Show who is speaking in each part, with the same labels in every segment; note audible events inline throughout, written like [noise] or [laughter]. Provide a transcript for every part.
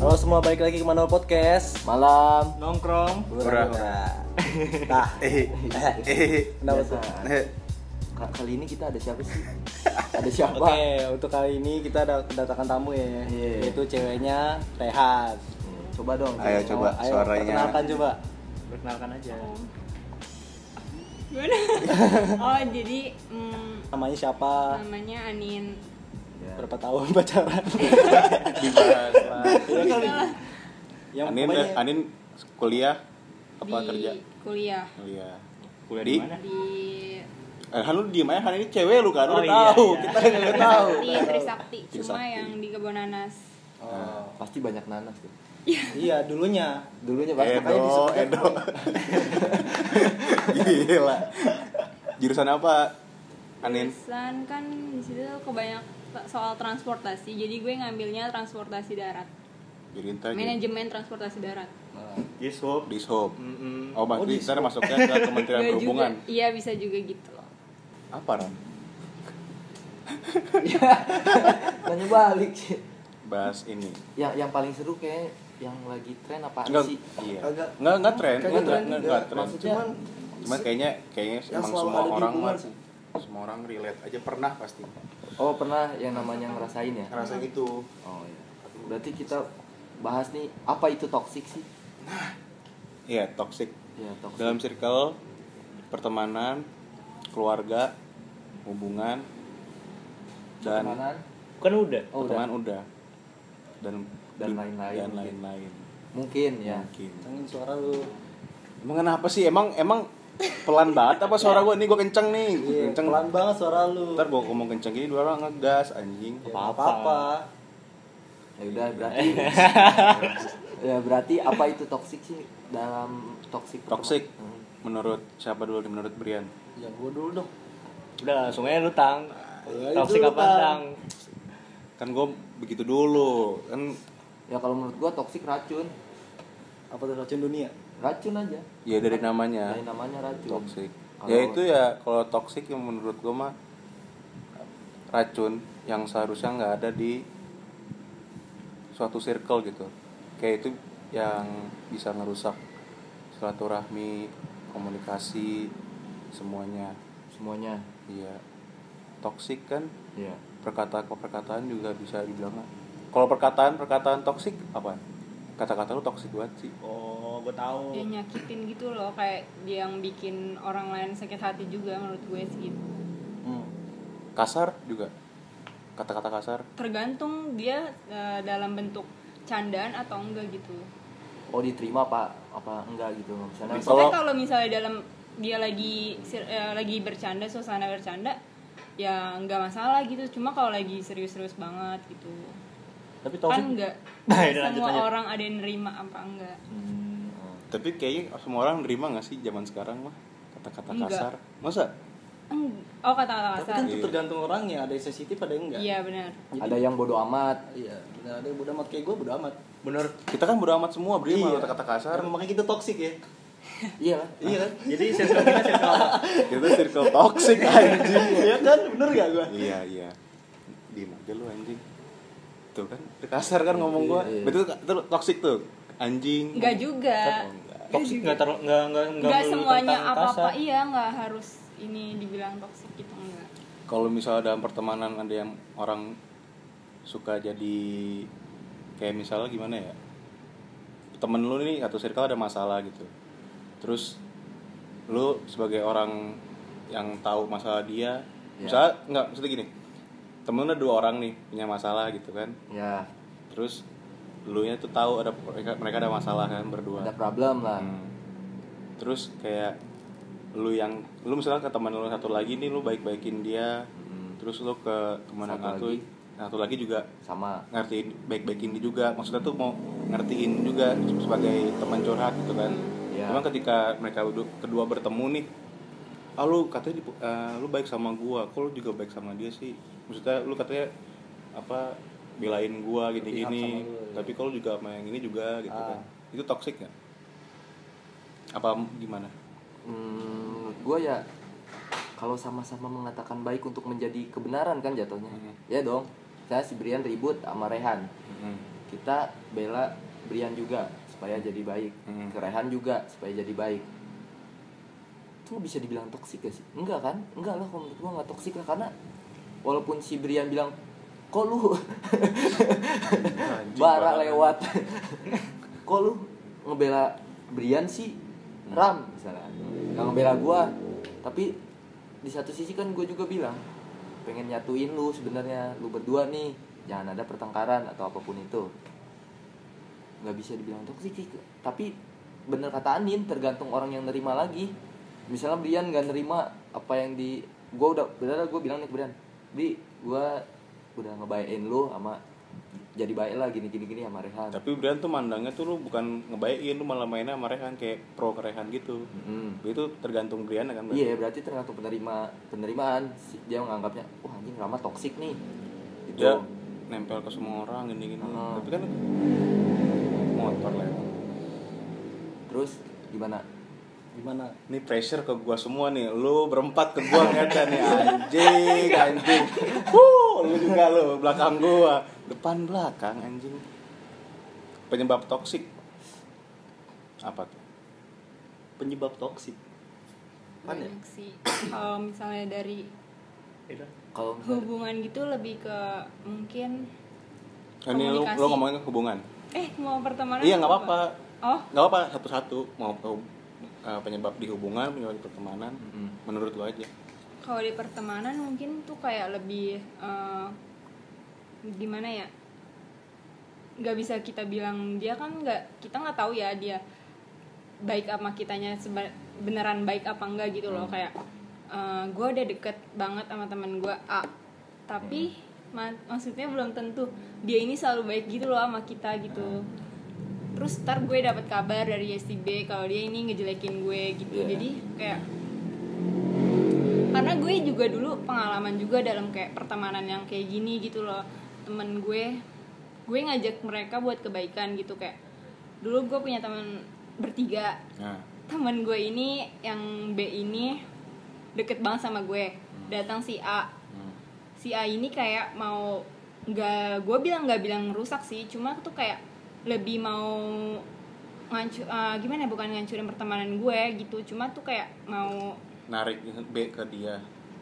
Speaker 1: Halo semua, balik lagi ke Manual Podcast
Speaker 2: Malam.
Speaker 3: nongkrong
Speaker 1: Ura.
Speaker 2: [laughs]
Speaker 1: Nah, kenapa tuh?
Speaker 2: Eh,
Speaker 4: eh,
Speaker 2: Biasa. Ka- Kali ini kita ada siapa
Speaker 1: [laughs]
Speaker 2: sih? Ada
Speaker 1: Oke,
Speaker 2: siapa?
Speaker 1: untuk kali ini kita ada kedatangan tamu ya
Speaker 2: Iya. Hmm.
Speaker 1: Yaitu ceweknya Rehan
Speaker 2: Coba dong.
Speaker 4: Ayo
Speaker 2: Kak.
Speaker 4: coba
Speaker 1: Ayo,
Speaker 4: suaranya.
Speaker 1: perkenalkan coba
Speaker 3: perkenalkan aja
Speaker 5: Gimana? oh jadi mm,
Speaker 1: Namanya siapa?
Speaker 5: namanya Anin
Speaker 2: Ya.
Speaker 1: Berapa tahun [laughs]
Speaker 2: [laughs]
Speaker 1: pacaran? Iya kali. Yang
Speaker 4: Anin,
Speaker 1: pokoknya [laughs]
Speaker 4: Anin kuliah apa
Speaker 5: di
Speaker 4: kerja?
Speaker 5: kuliah
Speaker 4: Kuliah.
Speaker 3: kuliah
Speaker 4: Di?
Speaker 3: di mana
Speaker 5: di
Speaker 4: Eh, Han, lu diem aja, Han ini cewek lu kan,
Speaker 3: Oh,
Speaker 4: lu udah
Speaker 3: iya,
Speaker 4: tahu.
Speaker 3: iya.
Speaker 4: Kita kan udah tahu.
Speaker 5: di Trisakti cuma
Speaker 4: Trisakti.
Speaker 5: yang di Kebonanas
Speaker 2: Oh, pasti banyak nanas tuh.
Speaker 1: Iya, dulunya
Speaker 2: Dulunya pasti
Speaker 4: Edo, Edo. Gila. Jurusan apa? Anin.
Speaker 5: Jurusan kan di situ kebanyak soal transportasi jadi gue ngambilnya transportasi darat
Speaker 4: Jurinta.
Speaker 5: manajemen transportasi darat
Speaker 3: Yishop
Speaker 4: Dishub.
Speaker 3: Mm-mm.
Speaker 4: Oh, berarti ntar masuknya ke Kementerian
Speaker 5: Gue juga
Speaker 4: Perhubungan.
Speaker 5: iya bisa juga gitu loh
Speaker 4: Apa, Ran?
Speaker 2: Tanya balik. sih.
Speaker 4: Bahas ini.
Speaker 2: Yang Ya, yang paling seru kayak yang lagi tren apa
Speaker 4: Enggak,
Speaker 2: sih?
Speaker 4: iya.
Speaker 1: Agak-
Speaker 4: Enggak, enggak tren,
Speaker 1: Kayaknya
Speaker 4: enggak tren,
Speaker 1: tren
Speaker 4: enggak
Speaker 1: juga.
Speaker 4: tren.
Speaker 2: Maksudnya
Speaker 1: Cuman
Speaker 2: Ya.
Speaker 4: Cuman kayaknya kayaknya
Speaker 1: Yang
Speaker 4: emang
Speaker 1: selalu
Speaker 4: semua
Speaker 1: ada di
Speaker 4: orang
Speaker 1: hubungan
Speaker 4: mah-
Speaker 1: sih.
Speaker 4: semua orang relate aja pernah pasti
Speaker 2: Oh, pernah yang namanya ngerasain ya?
Speaker 4: ngerasa gitu.
Speaker 2: Oh iya. Berarti kita bahas nih apa itu toksik sih?
Speaker 4: Iya, toxic.
Speaker 2: Ya, toksik.
Speaker 4: Dalam circle pertemanan, keluarga, hubungan dan
Speaker 2: Pertemanan,
Speaker 3: kan udah
Speaker 2: Oh, udah.
Speaker 4: pertemanan udah. Dan
Speaker 2: Dan lain-lain
Speaker 4: Dan
Speaker 2: mungkin.
Speaker 4: lain-lain.
Speaker 2: Mungkin ya.
Speaker 4: Mungkin.
Speaker 1: Angin suara lu
Speaker 4: Emang kenapa sih? Emang emang pelan banget apa suara gua? Nih gua kenceng nih.
Speaker 1: Iya,
Speaker 4: kenceng.
Speaker 1: pelan banget suara lu
Speaker 4: Ntar gua ngomong kenceng gini dua orang ngegas anjing.
Speaker 1: Ya, apa-apa
Speaker 2: Ya udah
Speaker 4: [laughs]
Speaker 2: berarti Ya berarti apa itu toksik sih dalam toksik pertemanan?
Speaker 4: Toxic.
Speaker 2: Hmm.
Speaker 4: Menurut siapa dulu nih? menurut Brian?
Speaker 1: Ya gua dulu dong
Speaker 3: udah langsung aja lu tang
Speaker 1: Ayo
Speaker 3: toxic
Speaker 1: dulu,
Speaker 3: apa
Speaker 1: Tang.
Speaker 3: tang
Speaker 4: Kan gua begitu dulu. Kan
Speaker 2: Ya kalau menurut gua toksik racun.
Speaker 1: Apa tuh racun dunia?
Speaker 2: Racun aja.
Speaker 4: ya dari namanya.
Speaker 2: Dari namanya racun.
Speaker 4: toxic
Speaker 2: Kalau-
Speaker 4: ya itu ya kalau toxic yang menurut gue mah racun yang seharusnya nggak ada di suatu circle gitu kayak itu yang bisa ngerusak silaturahmi komunikasi semuanya
Speaker 2: semuanya.
Speaker 4: iya toxic kan
Speaker 2: Iya.
Speaker 4: perkataan perkataan juga bisa dibilang kalau perkataan perkataan toxic apa kata-kata lu toxic banget sih
Speaker 3: oh gue
Speaker 5: ya
Speaker 3: tahu
Speaker 5: nyakitin gitu loh kayak dia yang bikin orang lain sakit hati juga menurut gue gitu. segitu
Speaker 4: kasar juga kata-kata kasar
Speaker 5: tergantung dia eh, dalam bentuk candaan atau enggak gitu.
Speaker 2: Oh diterima apa apa enggak gitu misalnya.
Speaker 4: Bisa.
Speaker 5: Soalnya
Speaker 4: Kalau-
Speaker 5: kalau misalnya dalam dia lagi sir- eh, lagi bercanda suasana bercanda ya enggak masalah gitu. Cuma kalau lagi serius-serius banget gitu.
Speaker 3: tapi
Speaker 5: Kan
Speaker 3: toxic
Speaker 5: enggak
Speaker 3: Nah,
Speaker 5: enggak
Speaker 3: ini lanjut,
Speaker 5: semua
Speaker 3: lanjut.
Speaker 5: orang ada yang nerima apa enggak.
Speaker 2: Hmm, oh.
Speaker 4: Tapi kayaknya semua orang nerima gak sih zaman sekarang mah kata-kata
Speaker 5: Enggak.
Speaker 4: kasar. Masa?
Speaker 5: Eng- Oh
Speaker 1: Tapi
Speaker 5: kata-kata kasar.
Speaker 3: Iya.
Speaker 1: kan itu tergantung orangnya, ada yang sensitif, ada yang enggak
Speaker 5: Iya benar.
Speaker 2: Ada yang bodoh amat.
Speaker 1: Iya, benar ada yang bodo amat kayak gue bodo amat.
Speaker 3: bener
Speaker 4: Kita kan bodo amat semua beri
Speaker 1: Iya.
Speaker 4: sama kata-kata kasar.
Speaker 1: Emang makanya kita toksik ya.
Speaker 2: Iya lah.
Speaker 1: Iya kan?
Speaker 3: [laughs] jadi circle kita circle apa?
Speaker 4: Itu circle toxic [laughs] anjing.
Speaker 1: [laughs] Iya kan? Bener gak gue?
Speaker 4: iya, iya. Diem aja lu anjing. Tuh kan, kasar kan ngomong gua.
Speaker 2: Iya, iya.
Speaker 4: Betul itu toxic tuh. Anjing.
Speaker 5: Enggak juga.
Speaker 3: toxic nggak ter nggak nggak nggak
Speaker 5: Enggak
Speaker 3: melulu
Speaker 5: semuanya
Speaker 3: tentang
Speaker 5: apa-apa.
Speaker 3: kasar.
Speaker 5: Iya enggak harus ini dibilang toksik gitu enggak.
Speaker 4: Kalau misalnya dalam pertemanan ada yang orang suka jadi kayak misalnya gimana ya? Temen lu nih atau circle ada masalah gitu. Terus lu sebagai orang yang tahu masalah dia,
Speaker 2: Ya.
Speaker 4: misalnya nggak maksudnya gini. Temen lu ada dua orang nih punya masalah gitu kan.
Speaker 2: Ya,
Speaker 4: Terus lu nya tuh tahu ada mereka, mereka ada masalah kan berdua.
Speaker 2: ada problem lah.
Speaker 4: Hmm. Terus kayak lu yang lu misalnya ke teman lu satu lagi nih lu baik-baikin dia.
Speaker 2: Hmm.
Speaker 4: Terus lu ke teman yang
Speaker 2: Satu
Speaker 4: satu
Speaker 2: lagi.
Speaker 4: satu lagi juga
Speaker 2: Sama.
Speaker 4: ngertiin baik-baikin dia juga. Maksudnya tuh mau ngertiin juga sebagai teman curhat gitu kan.
Speaker 2: Iya.
Speaker 4: Cuman ketika mereka udah- kedua bertemu nih Ah lu katanya dipu- eh, lu baik sama gua, kok lu juga baik sama dia sih? Maksudnya lu katanya apa belain gua
Speaker 1: sama
Speaker 4: gini-gini,
Speaker 1: gua,
Speaker 2: iya.
Speaker 1: ya.
Speaker 4: tapi kalau juga sama yang ini juga gitu
Speaker 1: Ah.
Speaker 4: kan. Itu toxic nggak? Apa gimana?
Speaker 2: Hmm, menurut gua ya kalau sama-sama mengatakan baik untuk menjadi kebenaran kan jatuhnya.
Speaker 4: Mhm.
Speaker 2: Ya dong. Saya si Brian ribut sama Rehan. kita bela Brian juga supaya jadi baik
Speaker 4: Hmm.
Speaker 2: kerehan juga supaya jadi baik itu bisa dibilang toksik gak sih enggak kan enggak lah kalau menurut gua nggak toksik lah karena walaupun si Brian bilang kok lu
Speaker 4: Anjing, parah.
Speaker 2: bara lewat kok lu ngebela Brian sih Ram misalnya nggak ngebela gua tapi di satu sisi kan gue juga bilang pengen nyatuin lu sebenarnya lu berdua nih jangan ada pertengkaran atau apapun itu nggak bisa dibilang toksik sih. tapi bener kata Anin tergantung orang yang nerima lagi misalnya Brian nggak nerima apa yang di gue udah bener gue bilang nih ke Brian Bri gue udah ngebayain lu sama jadi baik lah gini gini gini sama Rehan
Speaker 4: tapi Brian tuh mandangnya tuh lu bukan ngebaikin lu malah mainnya sama Rehan kayak pro ke Rehan gitu
Speaker 2: Mm-mm.
Speaker 4: itu tergantung Brian kan Bang?
Speaker 2: Mm-hmm. Hmm. Iya berarti tergantung penerima penerimaan Si- dia menganggapnya wah anjing Rama toksik nih gitu.
Speaker 4: dia nempel ke semua orang gini gini
Speaker 2: Hmm.
Speaker 4: tapi kan motor lewat
Speaker 2: Terus gimana?
Speaker 1: Gimana?
Speaker 4: ini pressure ke gua semua nih lu berempat ke gua ngeta nih anjing anjing Wuh, lu juga lu belakang gua depan belakang anjing penyebab toksik apa tuh
Speaker 1: Penyebab toksik. Apaan ya?
Speaker 5: banyak sih kalau misalnya dari
Speaker 3: Iya.
Speaker 2: Kalau misalnya-
Speaker 5: hubungan gitu lebih ke mungkin
Speaker 4: ini lu,
Speaker 5: Komunikasi.
Speaker 4: lu ngomongin ke hubungan
Speaker 5: eh mau pertemanan
Speaker 4: iya
Speaker 5: atau
Speaker 4: nggak apa-apa
Speaker 5: oh
Speaker 4: nggak apa satu-satu mau ke hub- eh, penyebab di hubungan penyebab di pertemanan
Speaker 2: Mm-mm.
Speaker 4: menurut lu aja
Speaker 5: kalau di pertemanan mungkin tuh kayak lebih eh, gimana ya nggak bisa kita bilang dia kan nggak kita nggak tahu ya dia baik sama kitanya seba- beneran baik apa enggak gitu loh kayak gue udah deket banget sama teman gue A tapi ma- maksudnya belum tentu dia ini selalu baik gitu loh sama kita gitu terus ntar gue dapat kabar dari si B kalau dia ini ngejelekin gue gitu
Speaker 2: Iya.
Speaker 5: jadi kayak karena gue juga dulu pengalaman juga dalam kayak pertemanan yang kayak gini gitu loh temen gue gue ngajak mereka buat kebaikan gitu kayak dulu gue punya temen bertiga
Speaker 4: nah
Speaker 5: temen gue ini yang B ini deket banget sama gue datang si A si A ini kayak mau nggak gue bilang nggak bilang rusak sih cuma tuh kayak lebih mau ngancu eh, gimana bukan ngancurin pertemanan gue gitu cuma tuh kayak mau
Speaker 4: narik B ke dia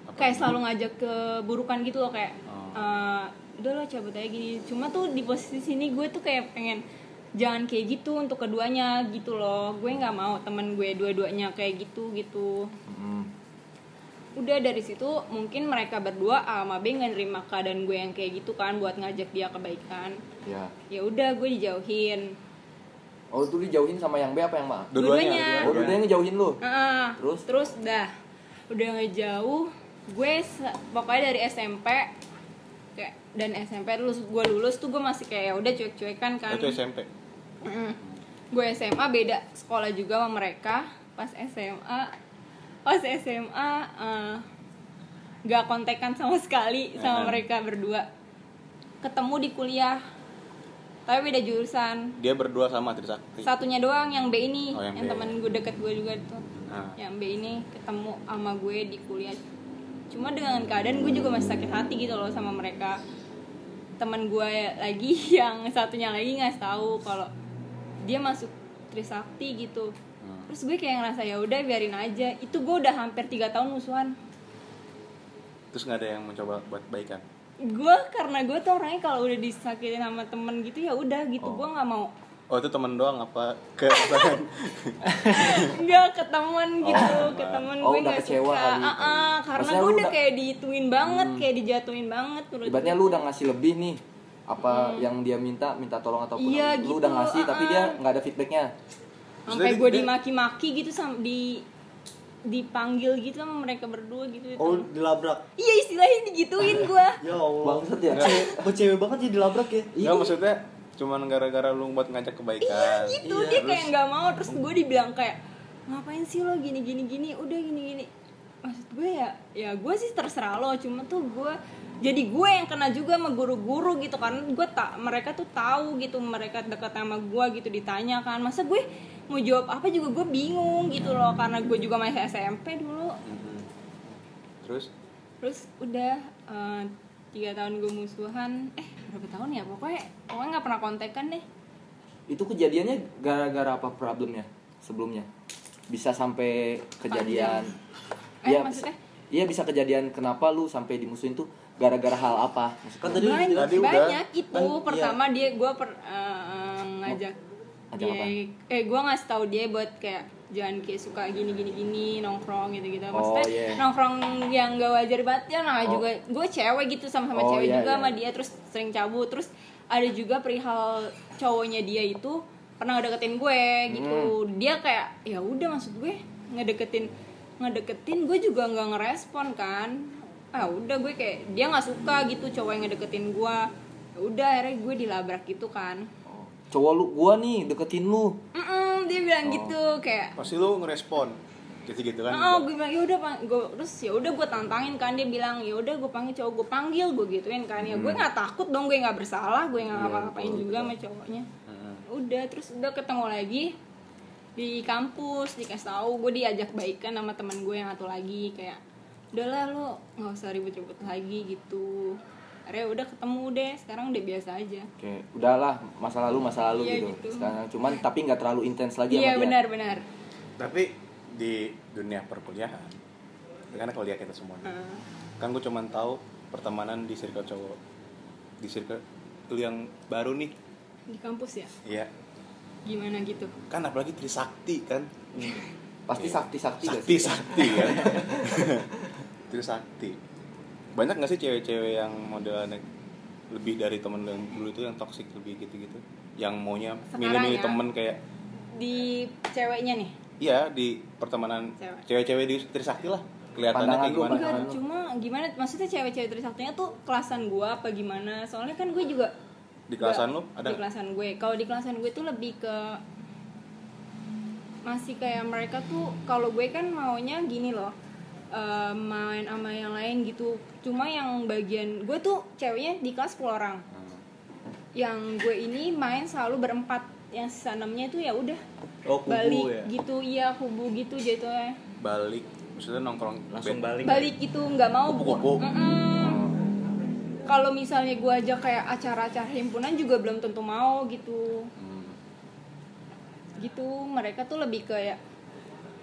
Speaker 4: Apa? gitu?
Speaker 5: kayak selalu ngajak ke burukan gitu loh kayak
Speaker 4: Oh.
Speaker 5: eh, udah lo cabut aja gini cuma tuh di posisi sini gue tuh kayak pengen jangan kayak gitu untuk keduanya gitu loh gue nggak mau temen gue dua-duanya kayak gitu gitu
Speaker 2: Mm-mm.
Speaker 5: udah dari situ mungkin mereka berdua A sama B nggak nerima keadaan gue yang kayak gitu kan buat ngajak dia kebaikan
Speaker 2: ya.
Speaker 5: ya udah gue dijauhin
Speaker 2: Oh tuh dijauhin sama yang B apa yang A?
Speaker 4: Iya.
Speaker 5: Dua-duanya.
Speaker 2: Oh dia ngejauhin lu.
Speaker 5: Ah,
Speaker 2: Terus?
Speaker 5: terus dah udah ngejauh gue se- pokoknya dari SMP kayak dan SMP lulus gue lulus tuh gue masih kayak ya udah cuek-cuekan kan
Speaker 4: Nah, itu SMP
Speaker 5: Mm. gue SMA beda sekolah juga sama mereka pas SMA pas SMA eh, gak kontekan sama sekali sama
Speaker 4: Eh.
Speaker 5: mereka berdua ketemu di kuliah tapi beda jurusan
Speaker 4: dia berdua sama Trisakti
Speaker 5: satunya doang yang B ini
Speaker 4: Iya. Oh, yang
Speaker 5: yang,
Speaker 4: B.
Speaker 5: temen gue deket gue juga itu
Speaker 4: Ah.
Speaker 5: yang B ini ketemu sama gue di kuliah cuma dengan keadaan gue juga masih sakit hati gitu loh sama mereka temen gue lagi [laughs] yang satunya lagi nggak tahu kalau dia masuk Trisakti gitu
Speaker 4: Hmm.
Speaker 5: terus gue kayak ngerasa ya udah biarin aja itu gue udah hampir tiga tahun musuhan
Speaker 4: terus nggak ada yang mencoba buat baikan
Speaker 5: gue karena gue tuh orangnya kalau udah disakitin sama temen gitu ya udah gitu gue nggak mau
Speaker 4: oh itu teman doang apa [laughs] ke pasangan?
Speaker 5: Enggak ketemuan gitu, ketemuan
Speaker 2: Oh,
Speaker 5: gue
Speaker 2: udah
Speaker 5: nggak
Speaker 2: kecewa
Speaker 5: suka.
Speaker 2: kali.
Speaker 5: Ah, ah, karena gue
Speaker 2: Maksudnya lu
Speaker 5: udah
Speaker 2: udah-
Speaker 5: kayak diituin banget, kayak dijatuhin banget menurut
Speaker 2: Ibaratnya
Speaker 5: gue.
Speaker 2: lu udah ngasih lebih nih apa yang dia minta minta tolong ataupun
Speaker 5: Hmm. Iya,
Speaker 2: apa. lu
Speaker 5: gitu,
Speaker 2: udah ngasih tapi dia
Speaker 5: ah.
Speaker 2: nggak ada feedbacknya
Speaker 5: sampai
Speaker 4: Maksudnya
Speaker 5: gue
Speaker 4: dia-
Speaker 5: dimaki-maki gitu sama di dipanggil gitu sama mereka berdua gitu.
Speaker 1: Oh,
Speaker 5: Itu-
Speaker 1: dilabrak.
Speaker 5: Iya istilahnya digituin gue.
Speaker 1: Ya Allah.
Speaker 2: bangsat ya
Speaker 1: Cewek- Kok cewek banget ya dilabrak ya?
Speaker 4: nggak maksudnya cuman gara-gara lu buat ngajak kebaikan
Speaker 5: gitu dia kayak nggak mau terus gue dibilang kayak ngapain sih lo gini gini gini udah gini gini maksud gue ya ya gue sih terserah lo cuma tuh gue jadi gue yang kena juga sama guru-guru gitu kan gue tak mereka tuh tahu gitu mereka dekat sama gue gitu ditanya kan masa gue mau jawab apa juga gue bingung gitu loh karena gue juga masih SMP dulu
Speaker 4: Mhm. terus
Speaker 5: terus udah eh, tiga tahun gue musuhan eh berapa tahun ya pokoknya pokoknya nggak pernah kontekan deh
Speaker 2: Itu kejadiannya gara-gara apa problemnya sebelumnya? Bisa sampai kejadian
Speaker 5: Eh,
Speaker 2: Iya,
Speaker 5: maksudnya?
Speaker 2: Iya bisa kejadian kenapa lu sampai dimusuhin tuh gara-gara hal apa?
Speaker 1: Kan
Speaker 2: Maksudnya,
Speaker 1: tadi
Speaker 5: banyak,
Speaker 1: tadi udah.
Speaker 5: banyak itu
Speaker 1: Kan, iya.
Speaker 5: pertama dia gue per eh, ngajak
Speaker 2: Ngajak
Speaker 5: dia
Speaker 2: apa?
Speaker 5: eh gue ngasih tahu dia buat kayak jangan kayak suka gini gini gini nongkrong gitu gitu maksudnya
Speaker 2: Oh, iya.
Speaker 5: nongkrong yang gak wajar banget ya namanya
Speaker 2: Oh.
Speaker 5: juga gue cewek gitu sama sama
Speaker 2: Oh,
Speaker 5: cewek
Speaker 2: iya,
Speaker 5: juga
Speaker 2: iya.
Speaker 5: sama dia terus sering cabut terus ada juga perihal cowoknya dia itu pernah deketin gue gitu
Speaker 2: Hmm.
Speaker 5: dia kayak ya udah maksud gue ngedeketin ngedeketin gue juga nggak ngerespon kan ah udah gue kayak dia nggak suka gitu cowok yang ngedeketin gue Ya udah akhirnya gue dilabrak gitu kan
Speaker 2: Oh, cowok lu gua nih deketin lu.
Speaker 5: Mm-mm, dia bilang
Speaker 2: Oh.
Speaker 5: gitu kayak
Speaker 4: pasti lu ngerespon gitu gitu kan
Speaker 5: Oh, gue bilang ya udah Pak." Gue- terus ya udah gue tantangin kan dia bilang ya udah gue panggil cowok gue panggil gue gituin kan ya
Speaker 2: Hmm.
Speaker 5: gue nggak takut dong gue nggak bersalah gue
Speaker 2: Iya,
Speaker 5: nggak ngapa-ngapain juga sama cowoknya. Udah terus udah ketemu lagi di kampus dikasih tahu gue diajak baikan sama teman gue yang satu lagi kayak udahlah lo nggak usah ribut-ribut lagi gitu. Akhirnya udah ketemu deh sekarang udah biasa aja.
Speaker 2: Oke, udahlah masa lalu masa lalu
Speaker 5: Iya,
Speaker 2: gitu.
Speaker 5: gitu.
Speaker 2: Sekarang cuman tapi nggak terlalu intens lagi
Speaker 5: Iya
Speaker 2: sama dia.
Speaker 5: benar-benar.
Speaker 4: tapi di dunia perkuliahan karena kalau lihat kita semuanya
Speaker 5: Heeh.
Speaker 4: kan gue cuman tahu pertemanan di circle cowok di circle lu yang baru nih
Speaker 5: di kampus ya
Speaker 4: iya
Speaker 5: gimana gitu?
Speaker 4: kan apalagi trisakti kan
Speaker 2: Pasti sakti-sakti gak
Speaker 4: sakti
Speaker 2: sih?
Speaker 4: sakti kan trisakti banyak nggak sih cewek-cewek yang modelannya lebih dari temen lu yang dulu itu yang toksik lebih gitu-gitu yang maunya
Speaker 5: Sekarang
Speaker 4: milih-milih
Speaker 5: ya.
Speaker 4: temen kayak
Speaker 5: Di ceweknya nih.
Speaker 4: iya di pertemanan
Speaker 5: Cewek.
Speaker 4: cewek-cewek di trisakti lah kelihatannya
Speaker 2: Pandangan
Speaker 4: kayak
Speaker 2: lu,
Speaker 4: gimana
Speaker 2: pandangan.
Speaker 5: Enggak, cuma gimana maksudnya cewek-cewek trisaktinya tuh kelasan gue apa gimana? Soalnya kan gue juga
Speaker 4: di kelasan lu
Speaker 5: nggak-
Speaker 4: ada
Speaker 5: di
Speaker 4: nggak?
Speaker 5: kelasan gue. Kalau di kelasan gue tuh lebih ke masih kayak mereka tuh kalau gue kan maunya gini loh eh, main sama yang lain gitu cuma yang bagian gue tuh ceweknya di kelas 10 orang yang gue ini main selalu berempat yang sisa enamnya itu ya udah
Speaker 3: Oh, kubu
Speaker 5: balik
Speaker 3: ya.
Speaker 5: gitu iya kubu gitu jatuhnya
Speaker 4: balik maksudnya nongkrong
Speaker 3: Langsung
Speaker 4: band.
Speaker 3: balik.
Speaker 5: balik gitu nggak mau
Speaker 4: Kupu-kupu.
Speaker 5: Mm-mm.
Speaker 2: Oh.
Speaker 5: kalau misalnya gue ajak kayak acara-acara himpunan juga belum tentu mau gitu
Speaker 2: Hmm.
Speaker 5: gitu mereka tuh lebih kayak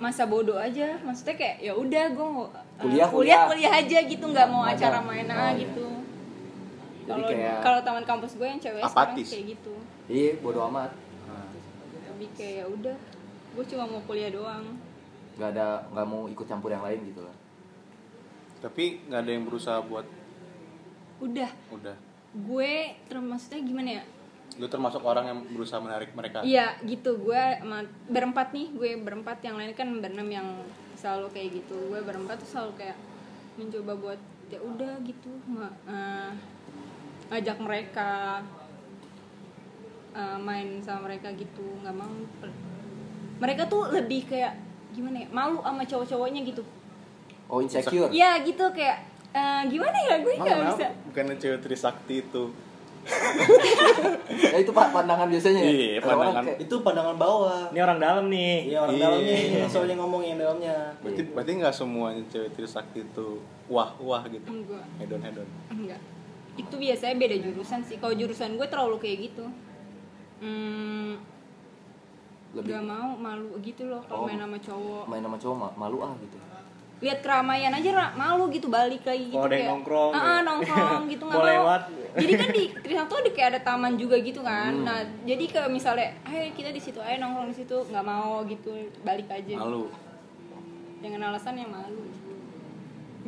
Speaker 5: masa bodoh aja maksudnya kayak ya udah gue kuliah
Speaker 2: Kuliah, kuliah.
Speaker 5: kuliah aja gitu nggak mau
Speaker 2: Nggak
Speaker 5: acara
Speaker 2: ada.
Speaker 5: mainan
Speaker 2: Oh, iya.
Speaker 5: gitu
Speaker 2: Jadi
Speaker 5: kalau
Speaker 2: kayak-
Speaker 5: kalau taman kampus gue yang cewek sekarang
Speaker 4: Apatis.
Speaker 5: kayak gitu
Speaker 2: Iya, bodo amat.
Speaker 5: lebih kayak ya udah gue cuma mau kuliah doang
Speaker 2: Gak ada gak mau ikut campur yang lain gitu lah.
Speaker 4: tapi nggak ada yang berusaha buat
Speaker 5: udah
Speaker 4: udah
Speaker 5: gue termasuknya gimana ya
Speaker 4: lu termasuk orang yang berusaha menarik mereka
Speaker 5: Iya gitu gue sama- berempat nih gue berempat yang lain kan berenam yang selalu kayak gitu gue berempat tuh selalu kayak mencoba buat ya udah gitu ma- eh, ngajak mereka eh, main sama mereka gitu nggak mau Per- mereka tuh lebih kayak gimana ya malu sama cowok-cowoknya gitu
Speaker 2: Oh, insecure.
Speaker 5: ya gitu kayak eh, gimana ya gue nggak bisa
Speaker 4: bukan cewek trisakti itu
Speaker 2: Ya itu Pak pandangan biasanya. ya?
Speaker 4: Iya,
Speaker 2: Kalau orang
Speaker 4: pandangan.
Speaker 2: kayak-
Speaker 1: Itu pandangan bawah.
Speaker 3: Ini orang dalam nih.
Speaker 1: Iya orang
Speaker 4: Iya.
Speaker 1: dalamnya ini, soalnya ngomong yang dalamnya.
Speaker 4: berarti
Speaker 5: Iya.
Speaker 4: berarti nggak semuanya cewek trisakti itu wah wah gitu
Speaker 5: enggak
Speaker 4: hedon hedon
Speaker 5: Enggak. Itu biasanya beda jurusan sih. Kalau jurusan gue terlalu kayak gitu. Hmm,
Speaker 2: Lebih-
Speaker 5: Gak mau malu gitu loh kalau
Speaker 2: Oh.
Speaker 5: main sama cowok.
Speaker 2: main sama cowok ma- malu ah gitu.
Speaker 5: Lihat keramaian aja ra- malu gitu balik lagi gitu
Speaker 3: Kalau ada yang nongkrong
Speaker 5: "Ah,
Speaker 3: gitu."
Speaker 5: ah,
Speaker 3: [laughs]
Speaker 5: nongkrong gitu nggak
Speaker 3: Mau
Speaker 5: mau.
Speaker 3: lewat.
Speaker 5: Jadi kan di Trisakti tuh ada kayak ada taman juga gitu kan.
Speaker 3: Hmm.
Speaker 5: Nah, jadi kayak misalnya, "Ayo kita di situ ayo nongkrong di situ." nggak mau gitu, balik aja.
Speaker 4: malu
Speaker 5: Dengan alasan yang malu.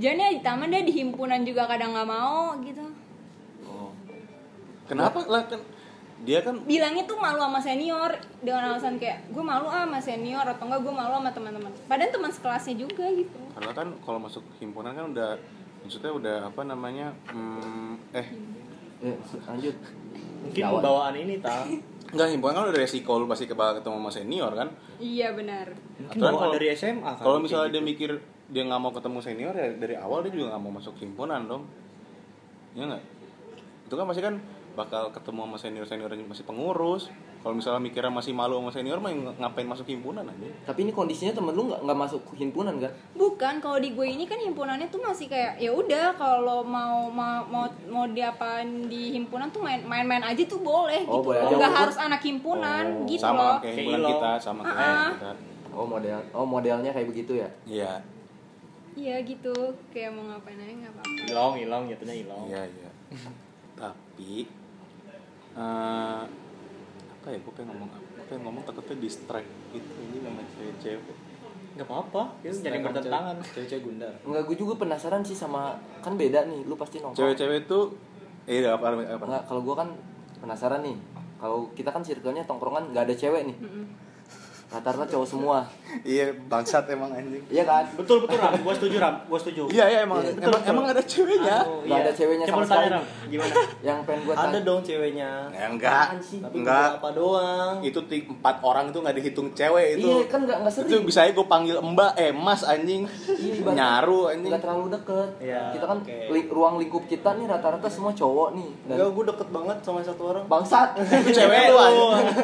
Speaker 5: Jangan ya di taman deh di himpunan juga kadang nggak mau gitu.
Speaker 4: kenapa
Speaker 5: Iya.
Speaker 4: lah kan dia kan
Speaker 5: bilangnya tuh malu sama senior dengan alasan kayak gue malu ah sama senior atau enggak gue malu sama teman-teman padahal teman sekelasnya juga gitu
Speaker 4: karena kan kalau masuk himpunan kan udah maksudnya udah apa namanya hmm, eh
Speaker 2: Eh, lanjut.
Speaker 3: Mungkin
Speaker 2: Lawan.
Speaker 3: bawaan ini tak.
Speaker 4: nggak himpunan kan udah resiko lu pasti kebal ketemu sama senior kan
Speaker 5: iya benar
Speaker 3: Mungkin
Speaker 4: Aturan
Speaker 3: bawaan
Speaker 4: kalau-
Speaker 3: dari SMA kan.
Speaker 4: kalau
Speaker 3: Kayak
Speaker 4: misalnya dia
Speaker 3: gitu.
Speaker 4: mikir dia nggak mau ketemu senior ya dari awal dia juga nggak mau masuk himpunan dong Iya ya nggak itu kan pasti kan bakal ketemu sama senior senior yang masih pengurus Kalau misalnya mikirnya masih malu sama senior mah ng- ngapain masuk himpunan aja?
Speaker 2: Tapi ini kondisinya temen lu nggak nggak masuk himpunan kan?
Speaker 5: Bukan kalau di gue ini kan himpunannya tuh masih kayak ya udah kalau mau mau mau mau diapain di himpunan tuh main- main-main aja tuh boleh
Speaker 2: Oh,
Speaker 5: gitu
Speaker 2: boleh
Speaker 5: loh.
Speaker 2: aja, Oh,
Speaker 5: Nggak
Speaker 2: walaupun-
Speaker 5: harus anak himpunan gitu loh.
Speaker 4: sama kayak
Speaker 3: Kayak
Speaker 4: himpunan
Speaker 3: Ilo.
Speaker 4: kita, sama kayak
Speaker 5: Ah-ah.
Speaker 4: kita.
Speaker 2: Oh model, oh modelnya kayak begitu ya?
Speaker 4: Iya,
Speaker 5: Iya gitu. Kayak mau ngapain aja nggak apa-apa.
Speaker 3: Ilong, ilong, jatuhnya ilong.
Speaker 4: iya, iya.
Speaker 3: [laughs]
Speaker 4: Tapi eh apa ya? Gue pengen ngomong apa? Gue pengen ngomong takutnya distract gitu ini sama cewek-cewek.
Speaker 3: Gak apa-apa, itu jadi bertentangan.
Speaker 1: Cewek-cewek gundar.
Speaker 2: Enggak, gue juga penasaran sih sama kan beda nih, lu pasti nongkrong.
Speaker 4: Cewek-cewek itu eh apa apa? apa?
Speaker 2: Enggak, kalau gue kan penasaran nih. Kalau kita kan circle-nya tongkrongan nggak ada cewek nih. Rata-rata cowok semua.
Speaker 4: Iya, bangsat emang anjing.
Speaker 2: Iya kan?
Speaker 3: Betul, betul Ram, gue setuju Ram, gue setuju.
Speaker 4: Iya, iya emang
Speaker 2: Iya,
Speaker 4: emang,
Speaker 3: betul.
Speaker 4: emang ada ceweknya.
Speaker 3: Aduh,
Speaker 2: Nggak ada ceweknya
Speaker 3: Iya. Coba
Speaker 2: sama
Speaker 3: lu tanya
Speaker 2: sekali.
Speaker 3: Ram, gimana?
Speaker 2: Yang pengen gue
Speaker 1: Ada dong ceweknya.
Speaker 4: Ya, enggak.
Speaker 2: Apaan sih?
Speaker 1: Tapi
Speaker 4: Enggak.
Speaker 1: beberapa doang.
Speaker 4: Itu ti- empat orang itu nggak dihitung cewek itu.
Speaker 2: Iya kan nggak nggak sering.
Speaker 4: itu bisa aja gue panggil mbak eh mas anjing
Speaker 2: Iya, ibaratnya
Speaker 4: nyaru anjing
Speaker 2: nggak terlalu deket.
Speaker 1: Iya,
Speaker 2: kita kan
Speaker 1: oke.
Speaker 2: li- ruang lingkup kita nih rata-rata semua cowok nih. Dan
Speaker 1: Enggak, gue deket banget sama satu orang.
Speaker 2: bangsat.
Speaker 4: itu [laughs] cewek lu anjing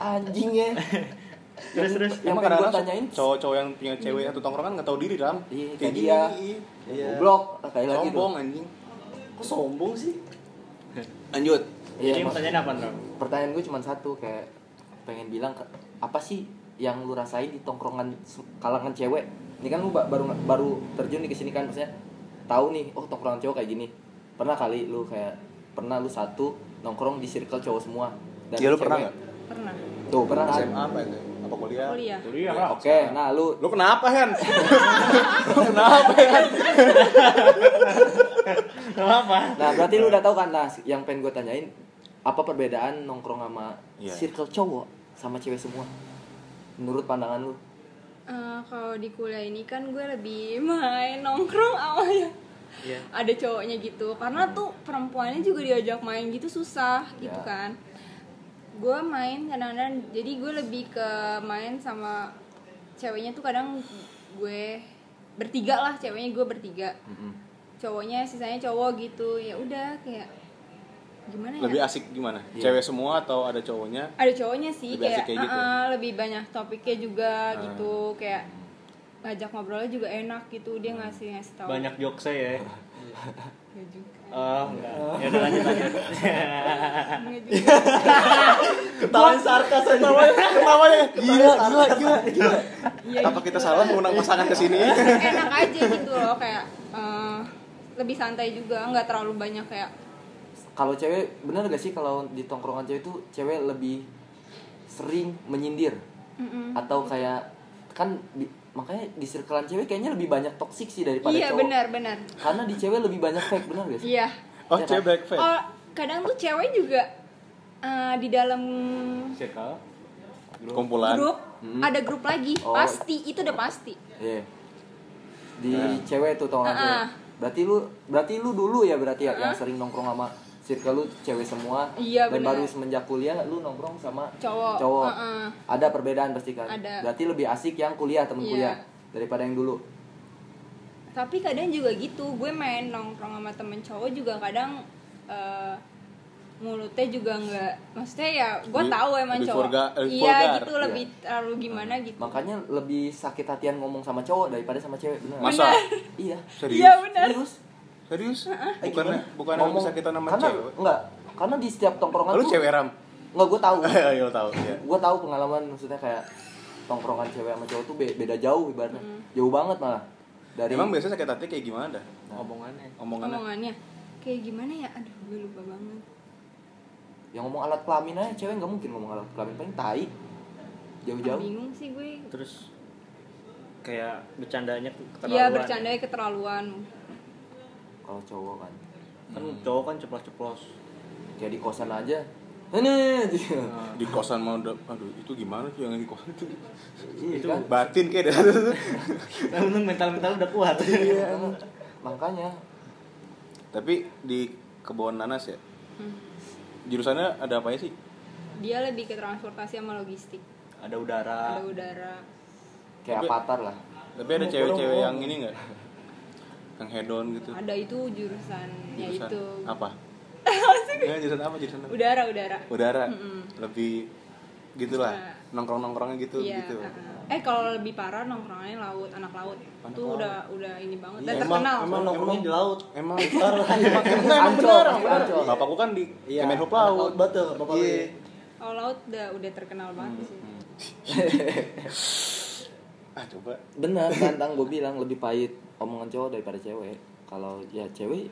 Speaker 2: Anjingnya.
Speaker 3: Terus, terus.
Speaker 2: Yang
Speaker 4: Emang
Speaker 2: pengen gue
Speaker 4: kadang-kadang
Speaker 2: tanyain.
Speaker 4: cowok-cowok yang punya cewek atau tongkrongan nggak tahu diri ram
Speaker 2: Iya,
Speaker 4: Kayak
Speaker 2: kayak
Speaker 4: gini,
Speaker 2: dia.
Speaker 4: iya.
Speaker 2: Yang
Speaker 1: Iya.
Speaker 2: Goblok, gitu. kayak lagi dong.
Speaker 4: sombong anjing
Speaker 1: Kok sombong sih?
Speaker 4: lanjut
Speaker 2: Iya,
Speaker 3: Jadi
Speaker 2: mak-
Speaker 3: pertanyaan apa Ram?
Speaker 2: pertanyaan gue cuma satu kayak pengen bilang ke- apa sih yang lu rasain di tongkrongan se- kalangan cewek ini kan lu ba- baru baru terjun di kesini kan maksudnya tahu nih oh tongkrongan cewek kayak gini pernah kali lu kayak pernah lu satu nongkrong di circle cowok semua
Speaker 4: Iya, lu pernah
Speaker 2: cewek.
Speaker 4: nggak?
Speaker 5: Pernah.
Speaker 2: tuh pernah kan
Speaker 4: SMA apa itu apa
Speaker 2: Ya.
Speaker 4: kuliah
Speaker 5: Kuliah.
Speaker 3: Kuliah Ram.
Speaker 2: oke nah lu
Speaker 4: lu kenapa Hen lu kenapa Hen
Speaker 3: Apa?
Speaker 2: nah berarti lu udah tahu kan nah yang pengen gue tanyain apa perbedaan nongkrong sama
Speaker 4: Iya.
Speaker 2: circle cowok sama cewek semua menurut pandangan lu
Speaker 5: Eh, kalau di kuliah ini kan gue lebih main nongkrong awalnya.
Speaker 3: Iya.
Speaker 5: Ada cowoknya gitu. Karena tuh perempuannya juga diajak main gitu susah gitu
Speaker 2: Ya.
Speaker 5: kan. Gue main kadang-kadang jadi gue lebih ke main sama ceweknya tuh kadang gue bertiga lah ceweknya gue bertiga cowoknya sisanya cowok gitu ya udah kayak gimana ya
Speaker 4: lebih asik gimana
Speaker 2: Iya.
Speaker 4: cewek semua atau ada cowoknya
Speaker 5: ada cowoknya sih
Speaker 4: Lebih asik
Speaker 5: kayak,
Speaker 4: kayak gitu.
Speaker 5: "Ah, lebih banyak topiknya juga gitu kayak ngajak ngobrolnya juga enak gitu dia ngasih ngasih tahu
Speaker 3: Banyak jokesnya ya.
Speaker 5: Nggak juga.
Speaker 3: Oh, enggak. Ya udah lanjut [laughs] lanjut.
Speaker 5: Nggak Iya juga.
Speaker 1: Ketahuan sarkas aja. ya,
Speaker 4: ketawanya gila gila gila gila apa kita salah mengundang pasangan ke
Speaker 2: [laughs]
Speaker 4: sini
Speaker 5: Iya gitu. enak aja gitu loh kayak eh, lebih santai juga nggak terlalu banyak kayak
Speaker 2: kalau cewek bener gak sih kalau di tongkrongan cewek itu cewek lebih sering menyindir
Speaker 5: mm-mm.
Speaker 2: atau kayak kan di- makanya di circlean cewek kayaknya lebih banyak toksik sih daripada
Speaker 5: iya
Speaker 2: cowok
Speaker 5: benar benar
Speaker 2: karena di cewek lebih banyak fake bener gak sih
Speaker 5: iya
Speaker 4: oh cewek black face
Speaker 5: oh kadang tuh cewek juga eh, di dalam
Speaker 3: Circle.
Speaker 4: kumpulan
Speaker 5: grup
Speaker 2: Hmm.
Speaker 5: ada grup lagi
Speaker 2: Oh.
Speaker 5: pasti itu udah pasti
Speaker 2: Iya. di
Speaker 4: Iya.
Speaker 2: cewek tuh tongkrongan
Speaker 5: Ah-ah.
Speaker 2: cewek. berarti lu berarti lu dulu ya berarti ya yang sering nongkrong sama circle lu cewek semua
Speaker 5: Iya,
Speaker 2: dan
Speaker 5: bener.
Speaker 2: baru semenjak kuliah lu nongkrong sama
Speaker 5: cowok
Speaker 2: cowok
Speaker 5: Heeh.
Speaker 2: ada perbedaan pasti kan
Speaker 5: Ada.
Speaker 2: berarti lebih asik yang kuliah temen
Speaker 5: Iya.
Speaker 2: kuliah daripada yang dulu
Speaker 5: tapi kadang juga gitu gue main nongkrong sama temen cowok juga kadang eh, mulutnya juga nggak maksudnya ya gue
Speaker 4: Lebih-
Speaker 5: tahu emang
Speaker 4: lebih
Speaker 5: cowok
Speaker 4: vulgar- eh,
Speaker 5: iya
Speaker 4: vulgar,
Speaker 5: gitu
Speaker 4: iya.
Speaker 5: lebih terlalu gimana gitu
Speaker 2: makanya lebih sakit hatian ngomong sama cowok daripada sama cewek bener nggak?
Speaker 4: masa
Speaker 2: iya
Speaker 4: serius
Speaker 5: iya benar
Speaker 2: serius Eh,
Speaker 4: Serius? Bukannya bukan
Speaker 2: ngomong
Speaker 4: bisa kita nama
Speaker 2: karena
Speaker 4: cewek?
Speaker 2: enggak karena di setiap tongkrongan
Speaker 4: Lu
Speaker 2: tuh-
Speaker 4: cewek
Speaker 5: [laughs]
Speaker 4: ram?
Speaker 2: enggak gue tahu
Speaker 5: Iya,
Speaker 4: Ayo tahu ya.
Speaker 2: gue tahu pengalaman maksudnya kayak tongkrongan cewek sama cowok tuh be- beda jauh ibaratnya jauh banget malah dari
Speaker 4: Emang biasanya sakit hati kayak gimana dah?
Speaker 3: Omongannya.
Speaker 4: Omongannya.
Speaker 5: omongannya kayak gimana ya aduh gue lupa banget
Speaker 2: yang ngomong alat kelamin aja cewek nggak mungkin ngomong alat kelamin paling tai jauh-jauh
Speaker 5: bingung sih gue Iya,
Speaker 3: Terus kayak bercandanya keterlaluan.
Speaker 5: Iya bercandanya keterlaluan
Speaker 2: kalau cowok kan
Speaker 3: Kan cowok kan ceplos-ceplos.
Speaker 2: kayak di kosan aja ini gitu.
Speaker 4: Di kosan mau udah- aduh itu gimana sih yang di kosan itu?
Speaker 2: Iya
Speaker 3: Itu
Speaker 2: kan?
Speaker 4: Batin kayak dah.
Speaker 3: [laughs]
Speaker 4: [laughs]
Speaker 3: Nah, untung mental-mental udah kuat.
Speaker 2: makanya
Speaker 4: Tapi di kebun nanas ya.
Speaker 5: Hmm.
Speaker 4: Jurusannya ada apa sih?
Speaker 5: dia lebih ke transportasi sama logistik
Speaker 3: Ada udara.
Speaker 5: ada udara
Speaker 2: kayak
Speaker 4: Tapi-
Speaker 2: avatar lah
Speaker 4: Tapi ada cewek-cewek yang ini enggak? Yang hedon gitu.
Speaker 5: ada itu jurusannya itu [laughs]
Speaker 4: Apa? Ya, jurusan apa jurusan? apa?
Speaker 5: udara udara
Speaker 4: Udara.
Speaker 5: Mm-mm.
Speaker 4: Lebih gitulah
Speaker 5: Nah.
Speaker 4: nongkrong nongkrongnya gitu
Speaker 5: Iya.
Speaker 4: gitu
Speaker 5: uh-uh. Eh kalau lebih parah nongkrongannya laut, anak laut.
Speaker 4: Anak
Speaker 5: Itu
Speaker 4: laut.
Speaker 5: udah udah ini banget dan
Speaker 4: Iya,
Speaker 1: Emang,
Speaker 5: terkenal.
Speaker 1: emang nongkrongnya di laut. [laughs] Iya,
Speaker 4: emang
Speaker 1: Ntar emang emang
Speaker 2: Ancol,
Speaker 1: bener,
Speaker 2: pasti
Speaker 1: emang bener.
Speaker 2: Ancol.
Speaker 4: bapakku kan di
Speaker 1: Iya.
Speaker 4: Kemenhub
Speaker 1: laut
Speaker 4: laut
Speaker 1: betul, bapak lu.
Speaker 4: Iya.
Speaker 5: Kalau laut udah udah terkenal banget
Speaker 4: Hmm,
Speaker 5: sih.
Speaker 4: ah coba
Speaker 2: Bener, tantang gue Kan, bilang lebih pahit omongan cowok daripada cewek. Kalau ya cewek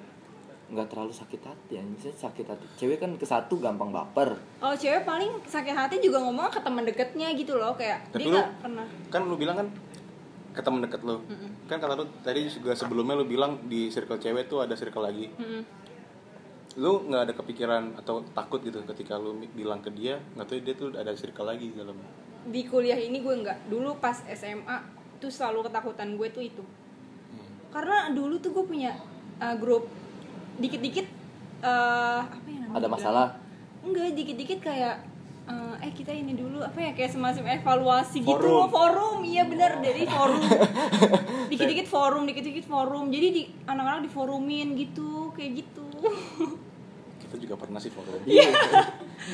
Speaker 2: nggak terlalu sakit hati ya. Misalnya sakit hati. Cewek kan ke satu gampang baper.
Speaker 5: Kalau cewek paling sakit hati juga ngomong ke teman deketnya gitu loh kayak
Speaker 4: Tapi
Speaker 5: dia
Speaker 4: lu-
Speaker 5: nggak pernah.
Speaker 4: kan lu bilang kan ke temen deket lu kan kata lu tadi juga sebelumnya lu bilang di circle cewek tuh ada circle lagi
Speaker 5: Mm-mm.
Speaker 4: lu nggak ada kepikiran atau takut gitu ketika lu mi- bilang ke dia nggak tahu dia tuh ada circle lagi di dalam
Speaker 5: Di kuliah ini gue nggak. Dulu pas SMA tuh selalu ketakutan gue tuh itu.
Speaker 1: Hmm.
Speaker 5: Karena dulu tuh gue punya uh, grup dikit-dikit eh apa ya namanya?
Speaker 2: Ada masalah.
Speaker 5: Enggak, dikit-dikit kayak eh, eh kita ini dulu apa ya kayak semacam evaluasi gitu
Speaker 4: Forum.
Speaker 5: loh forum iya
Speaker 1: Oh.
Speaker 5: benar dari
Speaker 1: [laughs]
Speaker 5: forum dikit-dikit forum dikit-dikit forum jadi di anak-anak diforumin gitu kayak gitu
Speaker 4: kita juga pernah sih forum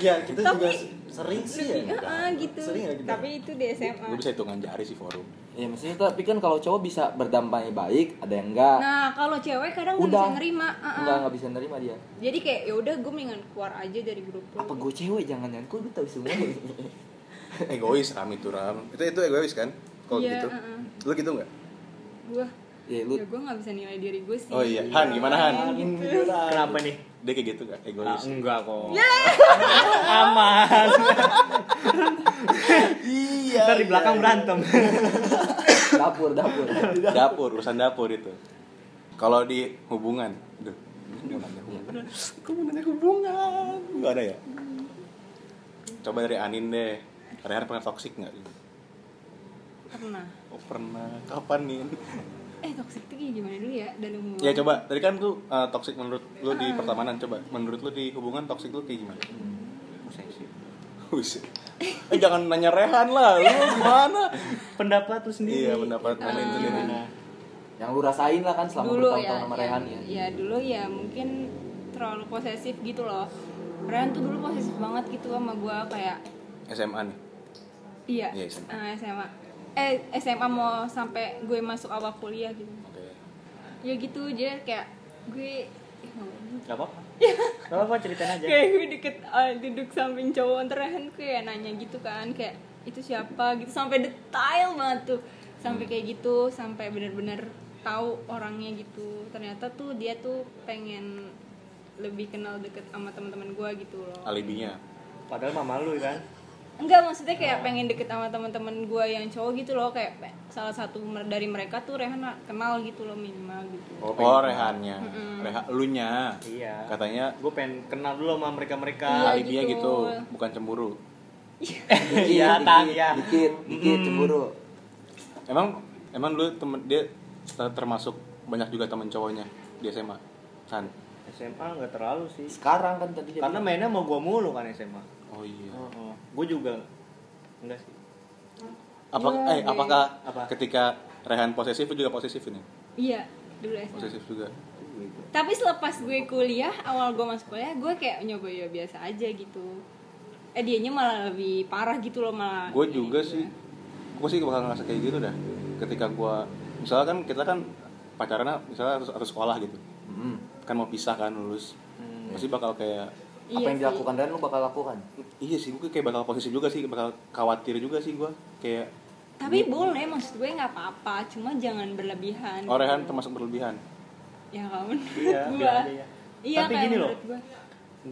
Speaker 1: Iya, kita
Speaker 5: Tapi-
Speaker 1: juga sering sih ya.
Speaker 5: Ah, gitu
Speaker 1: Sering nggak kita?
Speaker 5: tapi itu di SMA
Speaker 4: gue bisa hitungan jari sih forum
Speaker 2: Ya maksudnya tapi kan kalau cowok bisa berdamai baik, ada yang enggak.
Speaker 5: nah kalau cewek kadang nggak
Speaker 2: Udah.
Speaker 5: bisa nerima ah, ah.
Speaker 2: Enggak, nggak bisa nerima dia.
Speaker 5: jadi kayak ya udah gue mendingan keluar aja dari grup lu.
Speaker 2: Apa gue cewek jangan jangan gue tahu
Speaker 5: [laughs]
Speaker 2: semua.
Speaker 4: [laughs] egois ram itu ram itu itu egois kan kalau
Speaker 5: Iya,
Speaker 4: gitu
Speaker 5: uh-uh.
Speaker 4: lu gitu nggak
Speaker 5: gue
Speaker 2: ya lu
Speaker 5: ya gue nggak bisa nilai diri gue sih
Speaker 4: oh
Speaker 5: gitu.
Speaker 4: iya han gimana han
Speaker 3: [laughs] Kenapa nih?
Speaker 4: dia kayak gitu nggak
Speaker 3: Ah,
Speaker 4: egois
Speaker 3: enggak kok. [laughs] Aman.
Speaker 1: Iya.
Speaker 3: Ntar di
Speaker 1: iya,
Speaker 3: belakang
Speaker 1: iya.
Speaker 3: [laughs] berantem.
Speaker 2: dapur dapur.
Speaker 4: dapur urusan dapur itu kalau di hubungan duh mau nanya hubungan aku mau nanya hubungan nggak ada ya coba dari Anin deh hari-hari pernah toksik nggak
Speaker 5: pernah
Speaker 4: oh pernah kapan nih
Speaker 5: eh toxic itu kayak gimana dulu ya dari umur
Speaker 4: ya coba tadi kan tuh eh, toksik menurut lu di pertemanan coba menurut lu di hubungan toksik lu kayak gimana [laughs] Wis. eh jangan nanya Rehan lah lu gimana
Speaker 3: Pendapat lu sendiri.
Speaker 4: iya pendapat
Speaker 3: Ah,
Speaker 4: Anin sendiri
Speaker 3: gimana?
Speaker 2: Yang lu rasain lah kan selama
Speaker 5: dulu ya,
Speaker 2: bertahun-tahun sama Rehan
Speaker 5: [laughs]
Speaker 2: ya.
Speaker 5: ya dulu ya mungkin terlalu posesif gitu loh Rehan tuh dulu posesif banget gitu sama gue kayak
Speaker 4: SMA nih
Speaker 5: iya
Speaker 4: Iya, SMA.
Speaker 5: eh, SMA eh SMA mau sampai gue masuk awal kuliah gitu
Speaker 4: oke
Speaker 5: ya gitu dia kayak gue ya ih, nggak boleh.
Speaker 3: Gak apa-apa. Gak apa-apa ceritain aja.
Speaker 5: kayak gue deket eh, duduk samping cowok ntar Rehan kayak nanya gitu kan kayak itu siapa gitu sampai detail banget tuh sampai kayak gitu sampai bener-bener tahu orangnya gitu ternyata tuh dia tuh pengen lebih kenal deket sama teman-teman gue gitu loh
Speaker 4: alibinya
Speaker 3: Padahal mama lu kan.
Speaker 5: enggak maksudnya kayak pengen deket sama teman-teman gue yang cowok gitu loh kayak pe- salah satu mer- dari mereka tuh Rehan kenal gitu loh minimal gitu
Speaker 4: Oh, Rehannya. Reha elunya.
Speaker 3: Iya.
Speaker 4: Katanya
Speaker 3: Gue pengen kenal dulu sama mereka-mereka.
Speaker 5: Iya,
Speaker 4: alibia
Speaker 5: gitu.
Speaker 4: gitu. bukan cemburu.
Speaker 2: Dikit,
Speaker 3: Iya,
Speaker 2: dikit,
Speaker 3: Tan,
Speaker 5: ya.
Speaker 3: iya.
Speaker 2: Dikit, dikit cemburu.
Speaker 4: Emang emang lu temen dia ter- termasuk banyak juga temen cowoknya di SMA. Kan.
Speaker 3: SMA nggak terlalu sih.
Speaker 2: Sekarang kan
Speaker 5: Iya.
Speaker 2: tadi dia
Speaker 3: Karena
Speaker 2: bilang,
Speaker 3: mainnya mau gua mulu kan SMA.
Speaker 4: Oh iya.
Speaker 3: Gue juga enggak
Speaker 5: [laughs]
Speaker 3: sih.
Speaker 4: Apa
Speaker 5: Iya,
Speaker 4: eh
Speaker 5: iya.
Speaker 4: apakah
Speaker 3: Apa?
Speaker 4: ketika Rehan posesif lu juga posesif ini?
Speaker 5: iya dulu SMA
Speaker 4: Posesif juga.
Speaker 5: tapi selepas gue kuliah awal gue masuk kuliah gue kayak nyoba ya biasa aja gitu eh dianya malah lebih parah gitu loh malah
Speaker 4: Gue juga
Speaker 5: iya.
Speaker 4: sih. Gue sih bakal ngerasa kayak gitu dah. Ketika gua misalnya kan kita kan pacarannya misalnya harus, harus sekolah gitu.
Speaker 2: "Mm,
Speaker 4: Kan mau pisah kan lulus. Pasti bakal kayak
Speaker 5: Iya
Speaker 2: apa yang
Speaker 5: sih.
Speaker 2: dilakukan Rehan lu bakal lakukan.
Speaker 4: Iya sih, gue kayak bakal posesif juga sih, bakal khawatir juga sih gue Kayak
Speaker 5: tapi boleh maksud gue nggak apa-apa cuma jangan berlebihan
Speaker 4: Orehan
Speaker 5: gitu.
Speaker 4: termasuk berlebihan.
Speaker 5: ya kalau menurut
Speaker 3: Iya,
Speaker 5: gue
Speaker 3: biar aja ya.
Speaker 5: iya
Speaker 3: Tapi
Speaker 5: kayak
Speaker 3: gini loh.
Speaker 5: menurut gue.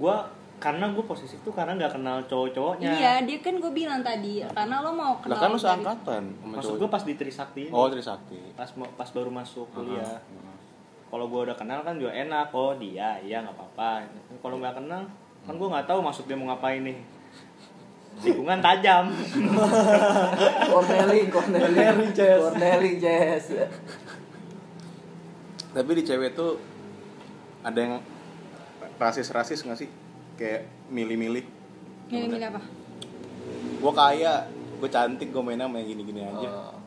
Speaker 3: Gue karena gue posesif tuh karena nggak kenal cowok-cowoknya.
Speaker 5: iya dia kan gue bilang tadi karena lo mau
Speaker 4: Lah
Speaker 5: kenal
Speaker 4: kan lu
Speaker 5: dari-
Speaker 4: seangkatan sama
Speaker 3: Maksud gue
Speaker 4: cowok.
Speaker 3: pas di Trisakti. ini.
Speaker 4: Oh, Trisakti.
Speaker 3: Pas mau- pas baru masuk
Speaker 4: Iya.
Speaker 3: kuliah. Kalau gue udah kenal kan juga enak. Oh dia, iya nggak apa-apa. Kalau nggak kenal kan gue nggak tahu maksud dia mau ngapain nih. Tikungan
Speaker 4: [laughs]
Speaker 3: tajam.
Speaker 2: Corneling, corneling, Jess. Corneling, Jess.
Speaker 4: Tapi di cewek tuh ada yang rasis-rasis gak sih? Kayak milih-milih.
Speaker 5: milih-milih apa
Speaker 4: Gue kaya, gue cantik, gue mainnya main gini-gini aja.
Speaker 2: Oh.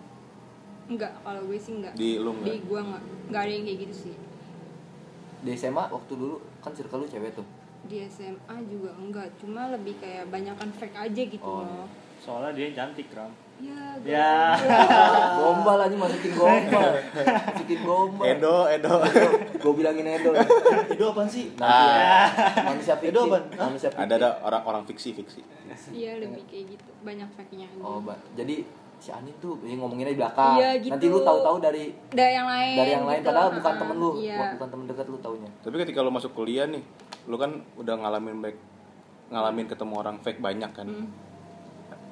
Speaker 5: enggak kalau gue sih enggak
Speaker 4: Di lu
Speaker 5: di
Speaker 4: nggak?
Speaker 5: gue nggak nggak ada yang kayak gitu sih
Speaker 2: Di SMA waktu dulu kan circle lu cewek tuh.
Speaker 5: di SMA juga enggak cuma lebih kayak banyakan fake aja gitu
Speaker 2: Oh,
Speaker 5: loh
Speaker 3: soalnya dia cantik ram
Speaker 5: ya gue-
Speaker 3: ya [laughs]
Speaker 2: gombal aja masukin gombal masukin gombal
Speaker 4: Edo, Edo.
Speaker 2: gue Iya, bilangin
Speaker 3: [laughs]
Speaker 2: Edo lah.
Speaker 1: Itu apaan sih?
Speaker 2: Nanti
Speaker 3: Ah.
Speaker 2: ya, manusia fiktif
Speaker 1: Edo apaan? Hah?
Speaker 2: manusia fiktif
Speaker 4: Ada ada orang orang fiksi fiksi.
Speaker 5: iya lebih kayak gitu banyak fake nya
Speaker 2: oh ba- jadi si Anin tuh ya ngomonginnya di belakang
Speaker 5: Iya, gitu.
Speaker 2: nanti lu tahu-tahu dari
Speaker 5: dari yang lain
Speaker 2: dari yang lain
Speaker 5: gitu.
Speaker 2: padahal bukan
Speaker 5: Ah,
Speaker 2: temen lu
Speaker 5: iya.
Speaker 2: bukan- bukan temen dekat lu taunya
Speaker 4: Tapi ketika lo masuk kuliah nih, lo kan udah ngalamin baik ngalamin ketemu orang fake banyak kan.
Speaker 5: Hmm.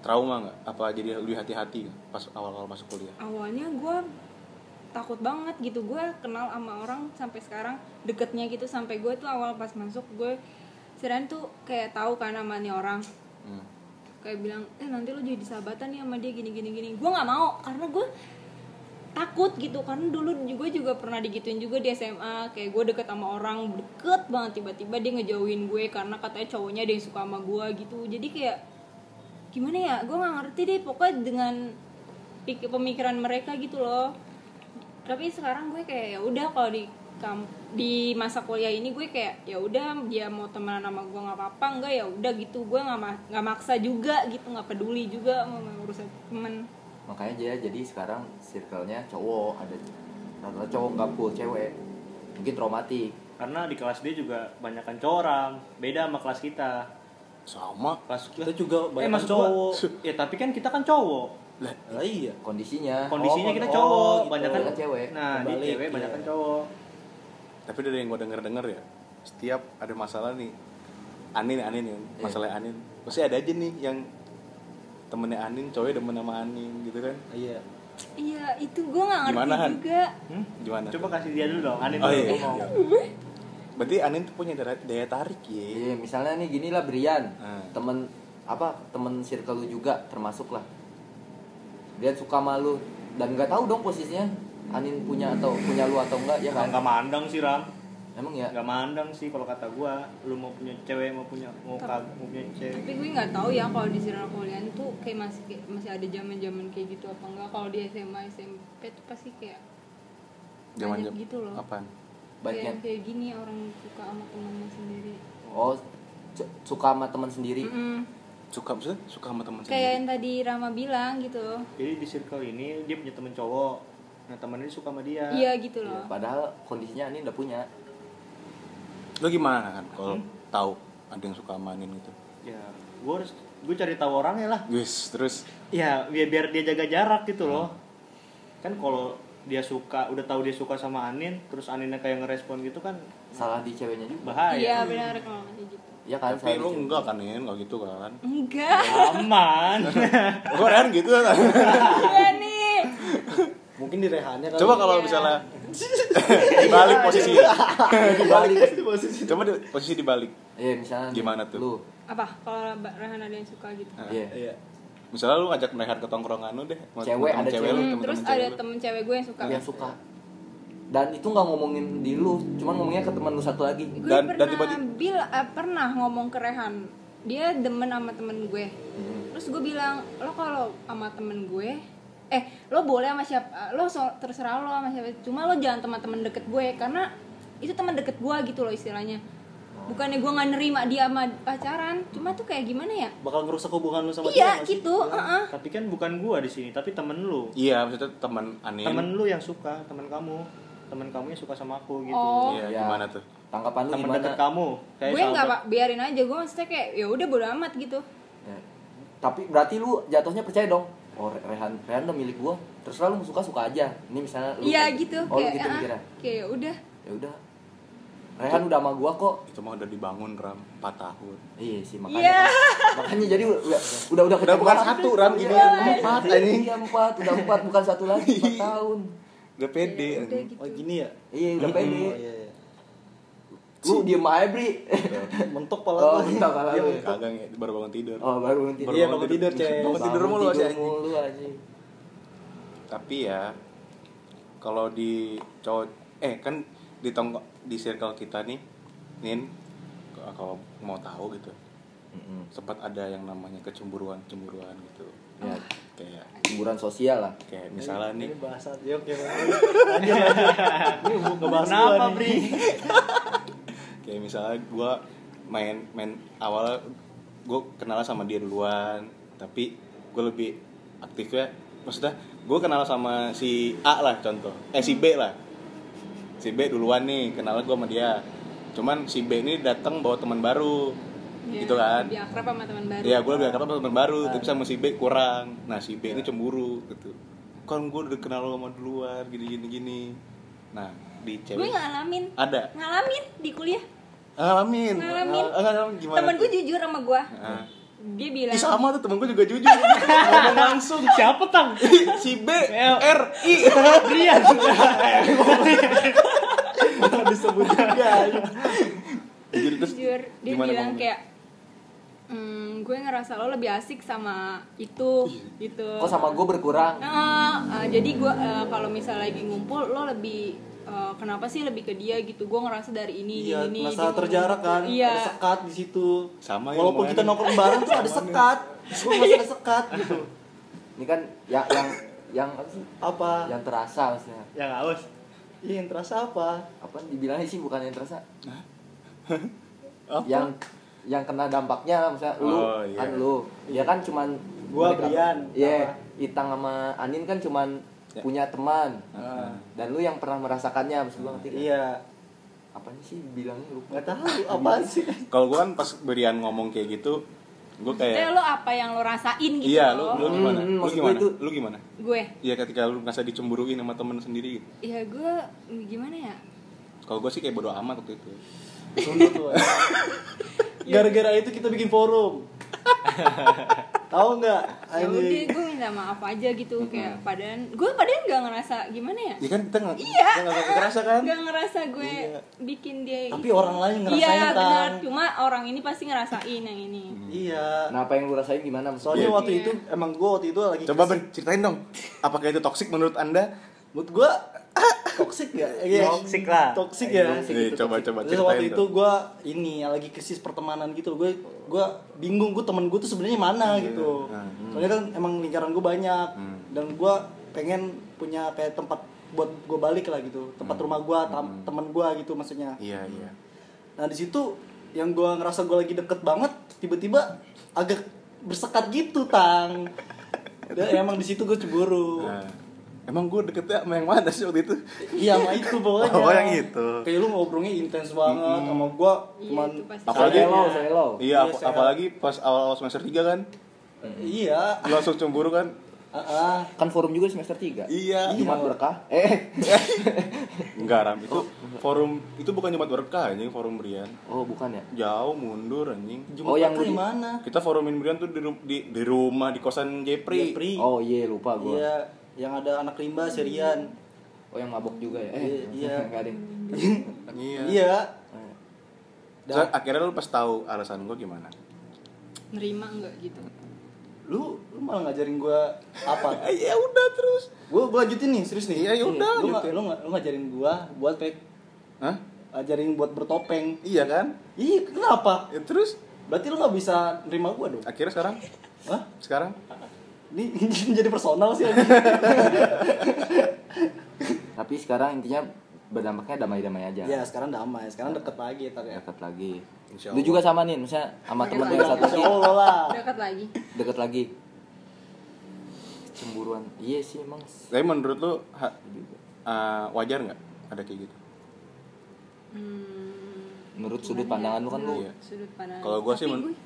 Speaker 4: Trauma nggak? Apa jadi lebih hati-hati nggak pas awal-awal masuk kuliah?
Speaker 5: awalnya gue takut banget gitu gue kenal sama orang sampai sekarang deketnya gitu sampai gue tuh awal pas masuk gue sering tuh kayak tahu kan nama nih orang
Speaker 4: Hmm.
Speaker 5: kayak bilang eh nanti lo jadi sahabatan nih sama dia gini gini gini gue nggak mau karena gue takut gitu karena dulu gue juga pernah digituin juga di SMA kayak gue deket sama orang deket banget tiba-tiba dia ngejauhin gue karena katanya cowoknya dia yang suka sama gue gitu jadi kayak gimana ya gue nggak ngerti deh pokoknya dengan pik- pemikiran mereka gitu loh tapi sekarang gue kayak ya udah kalau di kam- di masa kuliah ini gue kayak ya udah dia mau temenan sama gue nggak apa-apa enggak ya udah gitu gue nggak ma- nggak maksa juga gitu nggak peduli juga sama urusan temen
Speaker 2: makanya aja jadi sekarang circle-nya cowok ada rata-rata cowok nggak full cewek mungkin traumatik
Speaker 3: karena di kelas dia juga banyakan cowok Ram. beda sama kelas kita
Speaker 4: Sama.
Speaker 3: kelas
Speaker 1: Kita juga
Speaker 3: eh
Speaker 1: banyak
Speaker 3: mas cowok ya tapi kan kita kan cowok
Speaker 1: Lah iya.
Speaker 2: kondisinya
Speaker 3: kondisinya
Speaker 1: kon-
Speaker 3: kita
Speaker 1: oh,
Speaker 3: cowok
Speaker 1: gitu.
Speaker 3: banyakan
Speaker 2: Kita cewek.
Speaker 3: nah di
Speaker 1: Kebalik,
Speaker 3: cewek
Speaker 1: iya.
Speaker 3: banyakan cowok
Speaker 4: Tapi dari yang gue denger denger ya, setiap ada masalah nih, Anin Anin
Speaker 3: Iya.
Speaker 4: ya, masalah Anin, pasti ada aja nih yang temennya Anin, cowoknya demen sama Anin gitu kan?
Speaker 1: Iya.
Speaker 5: iya itu gue nggak ngerti
Speaker 4: Gimana, Han?
Speaker 5: juga
Speaker 3: Hmm?
Speaker 4: Gimana?
Speaker 3: coba kasih dia dulu dong Anin
Speaker 4: Oh
Speaker 3: dulu.
Speaker 4: iya. iya. Berarti Anin tuh punya daya, daya tarik ya.
Speaker 2: Iya, misalnya nih gini lah Brian,
Speaker 4: Hmm.
Speaker 2: temen apa temen circle lu juga termasuk lah. Dia suka malu dan nggak tahu dong posisinya Anin punya atau punya lu atau enggak ya
Speaker 3: Nah,
Speaker 2: kan?
Speaker 3: nggak mandang sih Ram
Speaker 2: Emang ya.
Speaker 3: nggak mandang sih kalau kata gua lu mau punya cewek mau punya mau kag mau punya cewek
Speaker 5: tapi gue nggak tahu ya kalau di sirna kuliah tuh kayak masih kayak- masih ada zaman zaman kayak gitu apa enggak kalau di SMA SMP tuh pasti kayak
Speaker 4: Zaman
Speaker 5: banyak gitu loh
Speaker 4: Apaan?
Speaker 5: kayak
Speaker 2: Banyak.
Speaker 5: yang kayak gini orang suka sama temennya sendiri
Speaker 2: Oh, c- suka sama teman sendiri.
Speaker 5: Mm-mm.
Speaker 4: Suka maksudnya suka sama teman
Speaker 5: kayak yang
Speaker 4: sendiri.
Speaker 5: tadi Rama bilang gitu
Speaker 3: jadi di circle ini dia punya temen cowok nah temennya suka sama dia
Speaker 5: iya gitu
Speaker 2: Iya,
Speaker 5: loh
Speaker 2: padahal kondisinya Anin udah punya.
Speaker 4: Lo gimana kan kalau tahu ada yang suka sama Anin gitu?
Speaker 3: ya gua harus gua cari tahu orangnya lah
Speaker 4: Wis, terus
Speaker 3: ya biar biar dia jaga jarak gitu loh kan kalau dia suka udah tahu dia suka sama Anin terus Aninnya kayak ngerespon gitu kan
Speaker 2: Salah di ceweknya juga.
Speaker 3: bahaya
Speaker 5: iya benar kalau kayak gitu
Speaker 2: Ya
Speaker 4: tapi
Speaker 2: kan? salah di
Speaker 4: lo
Speaker 2: cewek.
Speaker 4: enggak kan Nin, enggak gitu kan?
Speaker 5: enggak
Speaker 3: aman
Speaker 4: Gue kan gitu kan.
Speaker 5: [laughs] iya nih
Speaker 1: Mungkin di rehannya kali.
Speaker 4: Coba kalau
Speaker 2: Iya.
Speaker 4: misalnya dibalik posisi.
Speaker 2: Dibalik.
Speaker 1: Iya.
Speaker 4: Coba di, posisi dibalik.
Speaker 2: Iya, misalnya nih,
Speaker 4: Gimana tuh?
Speaker 2: Lu.
Speaker 5: apa kalau Mbak Rehan ada yang suka gitu
Speaker 2: Iya.
Speaker 1: Iya.
Speaker 4: Misalnya lu ngajak mereka ke tongkrongan lu deh. sama
Speaker 2: Cewek,
Speaker 4: temen-temen lu,
Speaker 2: ada cewek. Iya,
Speaker 5: Hmm,
Speaker 4: temen-temen
Speaker 5: terus
Speaker 4: cewek
Speaker 5: ada
Speaker 4: lu.
Speaker 5: temen cewek gue yang suka
Speaker 2: Yang suka. Dan itu nggak ngomongin di lu, cuman ngomongnya ke teman lu satu lagi.
Speaker 5: gue
Speaker 4: Dan- dan
Speaker 5: pernah
Speaker 4: tiba-tiba-
Speaker 5: bil eh, pernah ngomong ke Rehan dia demen sama temen gue terus gue bilang lo kalau sama temen gue eh lo boleh sama siapa lo so, terserah lo sama siapa cuma lo jangan teman-teman deket gue karena itu teman deket gue gitu loh istilahnya bukannya gue nggak nerima dia sama pacaran cuma tuh kayak gimana ya
Speaker 1: Bakal ngerusak hubungan lu sama dia.
Speaker 5: iya
Speaker 1: nggak sih?
Speaker 5: gitu [laughs] heeh.
Speaker 3: tapi kan bukan gua di sini tapi temen lu
Speaker 4: Iya, maksudnya teman Anin.
Speaker 3: temen lu yang suka temen kamu temen kamu yang suka sama aku gitu
Speaker 5: Oh.
Speaker 4: Iya,
Speaker 2: Iya.
Speaker 4: gimana tuh?
Speaker 2: Tangkapan lu
Speaker 3: temen
Speaker 2: gimana?
Speaker 3: deket kamu kayak
Speaker 5: gue nggak
Speaker 3: sahabat.
Speaker 5: pak biarin aja gue maksudnya kayak ya udah bodo amat gitu
Speaker 2: Ya. Tapi berarti lu jatuhnya percaya dong. Oh Re- Rehan, Rehan udah milik gua. Terus lu suka suka aja. Ini misalnya lu.
Speaker 5: iya gitu
Speaker 2: Oh lu
Speaker 5: kayak
Speaker 2: gitu
Speaker 5: ah,
Speaker 2: mikirnya.
Speaker 5: kayak ya udah
Speaker 2: Ya udah. Rehan udah sama gua kok.
Speaker 4: Itu mah udah dibangun Ram 4 tahun.
Speaker 2: Iya sih makanya.
Speaker 5: Iya.
Speaker 2: Makanya jadi udah udah udah
Speaker 4: Udah bukan
Speaker 2: kecewa.
Speaker 4: satu Ram ini
Speaker 2: Iya.
Speaker 4: empat anjing.
Speaker 2: Iya empat, udah empat bukan satu lagi empat
Speaker 4: [laughs]
Speaker 2: tahun.
Speaker 4: Udah pede.
Speaker 5: ya udah
Speaker 4: anjing.
Speaker 5: gitu
Speaker 1: Oh gini ya.
Speaker 2: Iya udah pede.
Speaker 1: Oh iya. iya.
Speaker 2: Lu diem aja Bri.
Speaker 1: Mentok
Speaker 2: Oh
Speaker 1: pala lu.
Speaker 2: bentar kalah
Speaker 1: Iya,
Speaker 2: lu.
Speaker 4: Kagak ya, baru bangun tidur.
Speaker 2: Oh baru bangun tidur.
Speaker 1: Iya, bangun tidur, Cez.
Speaker 4: Bangun tidur
Speaker 2: Bangun
Speaker 4: mulu masih
Speaker 2: tidur
Speaker 4: anjing.
Speaker 2: mulu anjing.
Speaker 4: Tapi ya kalau di cowok eh kan di tongko di circle kita nih, Nin kalau mau tahu gitu
Speaker 2: Mm-mm.
Speaker 4: sempat ada yang namanya kecemburuan cemburuan gitu
Speaker 2: Ya,
Speaker 4: kayak
Speaker 2: hiburan sosial
Speaker 4: [laughs]
Speaker 2: lah.
Speaker 4: kayak misalnya nih
Speaker 1: Ini bahasa yuk ya. Lanjut lanjut. Ini bu- ngebahas
Speaker 3: kenapa
Speaker 1: gua nih.
Speaker 3: bri
Speaker 4: kayak misalnya gua main main awal gue kenalan sama dia duluan tapi gue lebih aktifnya maksudnya gue kenal sama si A lah contoh eh si B lah si B duluan nih kenal gue sama dia cuman si B ini datang bawa teman baru
Speaker 5: Iya,
Speaker 4: gitu kan
Speaker 5: lebih akrab sama teman baru Iya.
Speaker 4: Iya, gue lebih akrab sama teman baru, tapi sama si B kurang. Nah, si B ini cemburu gitu. Kan gue udah kenal lo sama duluan, gini gini gini. Nah, di
Speaker 5: gue
Speaker 4: cewek
Speaker 5: ngalamin
Speaker 4: ada.
Speaker 5: ngalamin di kuliah
Speaker 4: Ngalamin.
Speaker 5: Ngalamin.
Speaker 4: Ah, ngalamin gimana?
Speaker 5: temen gue
Speaker 4: tuh?
Speaker 5: jujur sama gue
Speaker 4: Ah.
Speaker 5: dia bilang
Speaker 4: Ih, sama tuh temen gue juga jujur. [laughs] Ngomong langsung.
Speaker 3: Siapa tang?
Speaker 4: si B R I.
Speaker 3: Brian.
Speaker 4: Disebut juga. Jujur terus.
Speaker 5: jujur dia
Speaker 4: gimana
Speaker 5: bilang
Speaker 4: ngomongnya?
Speaker 5: kayak "Hmm, gue ngerasa lo lebih asik sama itu gitu
Speaker 2: Kok sama gue berkurang?
Speaker 5: Nah, eh, jadi gue kalau misalnya lagi ngumpul lo lebih eh, kenapa sih lebih ke dia gitu gue ngerasa dari ini
Speaker 1: Iya,
Speaker 5: ini ini
Speaker 1: masalah
Speaker 5: dia
Speaker 1: terjarak kan,
Speaker 5: ngomong gitu. iya
Speaker 1: ada sekat di situ.
Speaker 4: Sama ya
Speaker 1: Walaupun kita
Speaker 4: omongannya.
Speaker 1: nongkrong bareng tuh ada sekat. Gue masih ada sekat gitu.
Speaker 2: Ini kan yang yang yang apa sih?
Speaker 1: Apa?
Speaker 2: Yang terasa maksudnya.
Speaker 1: Ya,
Speaker 3: Yang haus.
Speaker 1: Iya, yang terasa apa?
Speaker 2: Apa dibilangnya sih bukan yang terasa?
Speaker 4: Apa?
Speaker 2: Yang yang kena dampaknya lah misalnya lu
Speaker 4: Oh, iya.
Speaker 2: kan lu. Dia kan cuman
Speaker 1: Gua,
Speaker 2: mereka-
Speaker 1: Brian,
Speaker 2: Iya,
Speaker 1: sama.
Speaker 2: Itang sama Anin kan cuman
Speaker 4: Ya.
Speaker 2: punya teman.
Speaker 4: Ah.
Speaker 2: Dan lu yang pernah merasakannya maksud gua ngerti kan?
Speaker 1: Iya,
Speaker 2: Apa sih bilangnya lupa.
Speaker 1: nggak tahu apa sih.
Speaker 4: Kalau gue kan pas berian ngomong kayak gitu, gue
Speaker 5: Maksudnya
Speaker 4: kayak
Speaker 5: lo apa yang lo rasain gitu
Speaker 4: Iya,
Speaker 5: lo.
Speaker 4: lu, lu gimana?
Speaker 2: Hmm,
Speaker 4: Lu
Speaker 2: maksud gua
Speaker 4: gimana?
Speaker 2: itu-
Speaker 4: Lu gimana?
Speaker 5: gue
Speaker 4: Iya ketika lu ngerasa dicemburuin sama temen sendiri gitu.
Speaker 5: ya gue gimana ya
Speaker 4: Kalau gue sih kayak bodo amat waktu itu.
Speaker 1: Tunduk tuh. [laughs] Gara-gara itu kita bikin forum. tahu nggak?
Speaker 5: ya udah
Speaker 1: Anjing.
Speaker 5: gue minta maaf aja gitu kayak padahal gue padahal nggak ngerasa gimana ya
Speaker 4: Iya kan kita nggak
Speaker 5: Iya.
Speaker 4: kita nggak kerasa kan?
Speaker 1: Iya.
Speaker 5: nggak ngerasa gue bikin dia
Speaker 1: Tapi
Speaker 5: itu.
Speaker 1: orang lain ngerasain,
Speaker 5: iya benar
Speaker 1: Tang.
Speaker 5: cuma orang ini pasti ngerasain yang ini
Speaker 1: Iya.
Speaker 2: Nah, apa yang lu rasain gimana maksud
Speaker 1: Soalnya
Speaker 2: gua?
Speaker 1: waktu itu emang gue waktu itu lagi
Speaker 4: Coba ben, ceritain dong. Apakah itu toksik menurut anda?
Speaker 1: Menurut gue [laughs] toxic ya? Iya.
Speaker 3: Toxic lah.
Speaker 1: Toxic ya.
Speaker 2: Toxic
Speaker 4: Nih,
Speaker 2: itu
Speaker 4: coba
Speaker 2: toksik.
Speaker 4: coba
Speaker 1: Terus
Speaker 4: ceritain
Speaker 1: waktu itu
Speaker 4: dong.
Speaker 1: gue ini ya, lagi krisis pertemanan gitu gue gue bingung gue temen gue tuh sebenarnya mana
Speaker 4: Iya.
Speaker 1: gitu
Speaker 4: Ah, hmm.
Speaker 1: soalnya kan emang lingkaran gue banyak dan gue pengen punya kayak tempat buat gue balik lah gitu tempat rumah gue tam- temen gue gitu maksudnya
Speaker 4: Hmm. Iya iya.
Speaker 1: nah di situ yang gue ngerasa gue lagi deket banget tiba-tiba agak bersekat gitu
Speaker 4: [laughs]
Speaker 1: tang dan emang di situ gue cemburu
Speaker 4: Nah, emang gue deketnya sama yang mana sih waktu itu?
Speaker 1: Iya sama itu pokoknya
Speaker 4: [laughs] Oh, yang itu. Hmm.
Speaker 1: Kayak lu ngobrolnya intens banget sama gua
Speaker 5: Iya,
Speaker 1: Cuman
Speaker 5: itu pasti.
Speaker 4: Apalagi-
Speaker 2: Saya lo, Oh, saya lo.
Speaker 1: Iya,
Speaker 4: Iya, ap-
Speaker 1: saya-
Speaker 4: apalagi pas awal semester 3 kan,
Speaker 1: Iya
Speaker 4: lu langsung cemburu kan?
Speaker 1: Ah, ah.
Speaker 2: Kan forum juga semester 3.
Speaker 4: Iya.
Speaker 2: Jumat berkah. Eh.
Speaker 4: Enggak ram, itu forum itu bukan Jumat berkah anjing forum Brian.
Speaker 2: Oh, bukan ya.
Speaker 4: Jauh mundur anjing.
Speaker 2: Oh, yang
Speaker 1: Jumat
Speaker 2: lu-
Speaker 1: mana?
Speaker 4: Kita forumin Brian tuh di, ru- di, di rumah di kosan Jepri.
Speaker 1: Jepri
Speaker 2: Oh, iya lupa gua.
Speaker 1: Iya Yang ada anak rimba serian
Speaker 2: Oh yang mabok juga ya?
Speaker 1: Eh,
Speaker 2: [laughs]
Speaker 1: iya.
Speaker 2: Enggak deh. Eh.
Speaker 4: Iya.
Speaker 1: Iya
Speaker 4: So, akhirnya lu pas tahu alasan gue gimana?
Speaker 5: nerima nggak gitu
Speaker 1: Lu, lu malah ngajarin gua apa?
Speaker 4: Ya udah terus.
Speaker 1: gua, gua lanjutin nih, serius nih
Speaker 4: Iya, ya udah,
Speaker 1: Lu, nga-
Speaker 4: lanjutin.
Speaker 1: lu, nga- lu ngajarin gua buat pek
Speaker 4: Hah?
Speaker 1: Ajarin buat bertopeng
Speaker 4: Iya kan?
Speaker 1: Ih, kenapa?
Speaker 4: Ya terus
Speaker 1: Berarti lu gak bisa nerima gua dong?
Speaker 4: akhirnya sekarang
Speaker 1: Hah?
Speaker 4: sekarang
Speaker 1: Ini [laughs] jadi personal sih anjing.
Speaker 2: Tapi sekarang intinya berdampaknya damai-damai aja.
Speaker 1: Ya sekarang damai, sekarang deket lagi tapi ya.
Speaker 2: Dekat lagi.
Speaker 4: Insya
Speaker 2: Lu
Speaker 4: Allah.
Speaker 2: juga sama nih, misalnya sama temen lu yang satu
Speaker 1: Insya Ya Allah lah.
Speaker 5: dekat lagi
Speaker 2: deket lagi. Cemburuan. Iya sih emang.
Speaker 4: tapi menurut lu ha- eh, wajar nggak ada kayak gitu
Speaker 5: Hmm,
Speaker 2: Menurut
Speaker 5: gimana
Speaker 2: sudut
Speaker 5: ya?
Speaker 2: pandangan lu kan lu.
Speaker 5: Menurut sudut pandangan
Speaker 4: Kalau gua
Speaker 5: Tapi
Speaker 4: sih men-
Speaker 5: gue-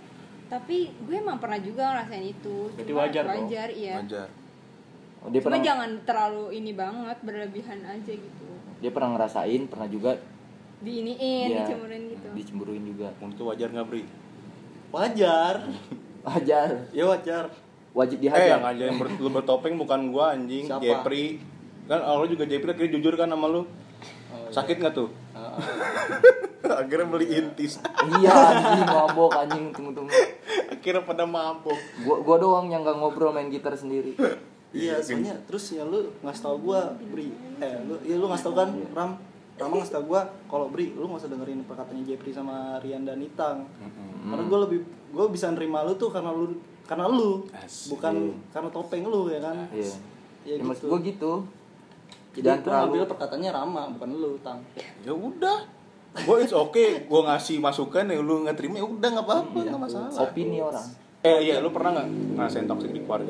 Speaker 5: tapi gue emang pernah juga ngerasain itu
Speaker 1: Berarti
Speaker 5: Cuma
Speaker 1: wajar dong.
Speaker 5: wajar iya
Speaker 4: wajar
Speaker 2: Oh, dia
Speaker 5: cuma
Speaker 2: pernah
Speaker 5: jangan terlalu ini banget berlebihan aja gitu
Speaker 2: dia pernah ngerasain, pernah juga
Speaker 5: diiniin
Speaker 2: dia
Speaker 5: dicemburuin gitu
Speaker 2: dicemburuin juga.
Speaker 4: menurut lu wajar nggak Bri
Speaker 1: Wajar.
Speaker 2: Hajar.
Speaker 1: Ya wajar.
Speaker 2: Wajib ya?
Speaker 4: eh yang
Speaker 2: dihajar.
Speaker 4: ngajarin ber- lu bertopeng bukan gua anjing
Speaker 1: Siapa?
Speaker 4: Jepri kan awalnya juga Jepri akhirnya jujur kan sama lu sakit nggak tuh [laughs] akhirnya beli intis
Speaker 2: iya, anjing mabok anjing tunggu-tunggu.
Speaker 4: akhirnya pada mampu
Speaker 2: Gua gua doang yang gak ngobrol main gitar sendiri.
Speaker 1: Iya, soalnya terus ya lu ngasih tau gua, Bri. Eh, lu ya lu ngasih tau kan
Speaker 2: Iya.
Speaker 1: Ram. Ram ngasih tau gua kalau Bri, lu nggak usah dengerin perkataannya Jepri sama Rian dan Itang. Karena gua lebih gua bisa nerima lu tuh karena lu karena lu
Speaker 4: Asik.
Speaker 1: bukan karena topeng lu ya kan.
Speaker 2: Iya.
Speaker 1: Ya
Speaker 2: Ya, maksud
Speaker 1: gitu.
Speaker 2: gua gitu.
Speaker 1: Jadi gua
Speaker 2: Dan
Speaker 1: ngambil
Speaker 2: terlalu Iya.
Speaker 1: perkataannya Rama bukan lu, Tang.
Speaker 4: ya udah gue it's okay gue ngasih masukan ya lu nggak terima ya udah nggak apa-apa nggak masalah
Speaker 2: opini orang
Speaker 4: eh iya lu pernah nggak ngerasain toksik di keluarga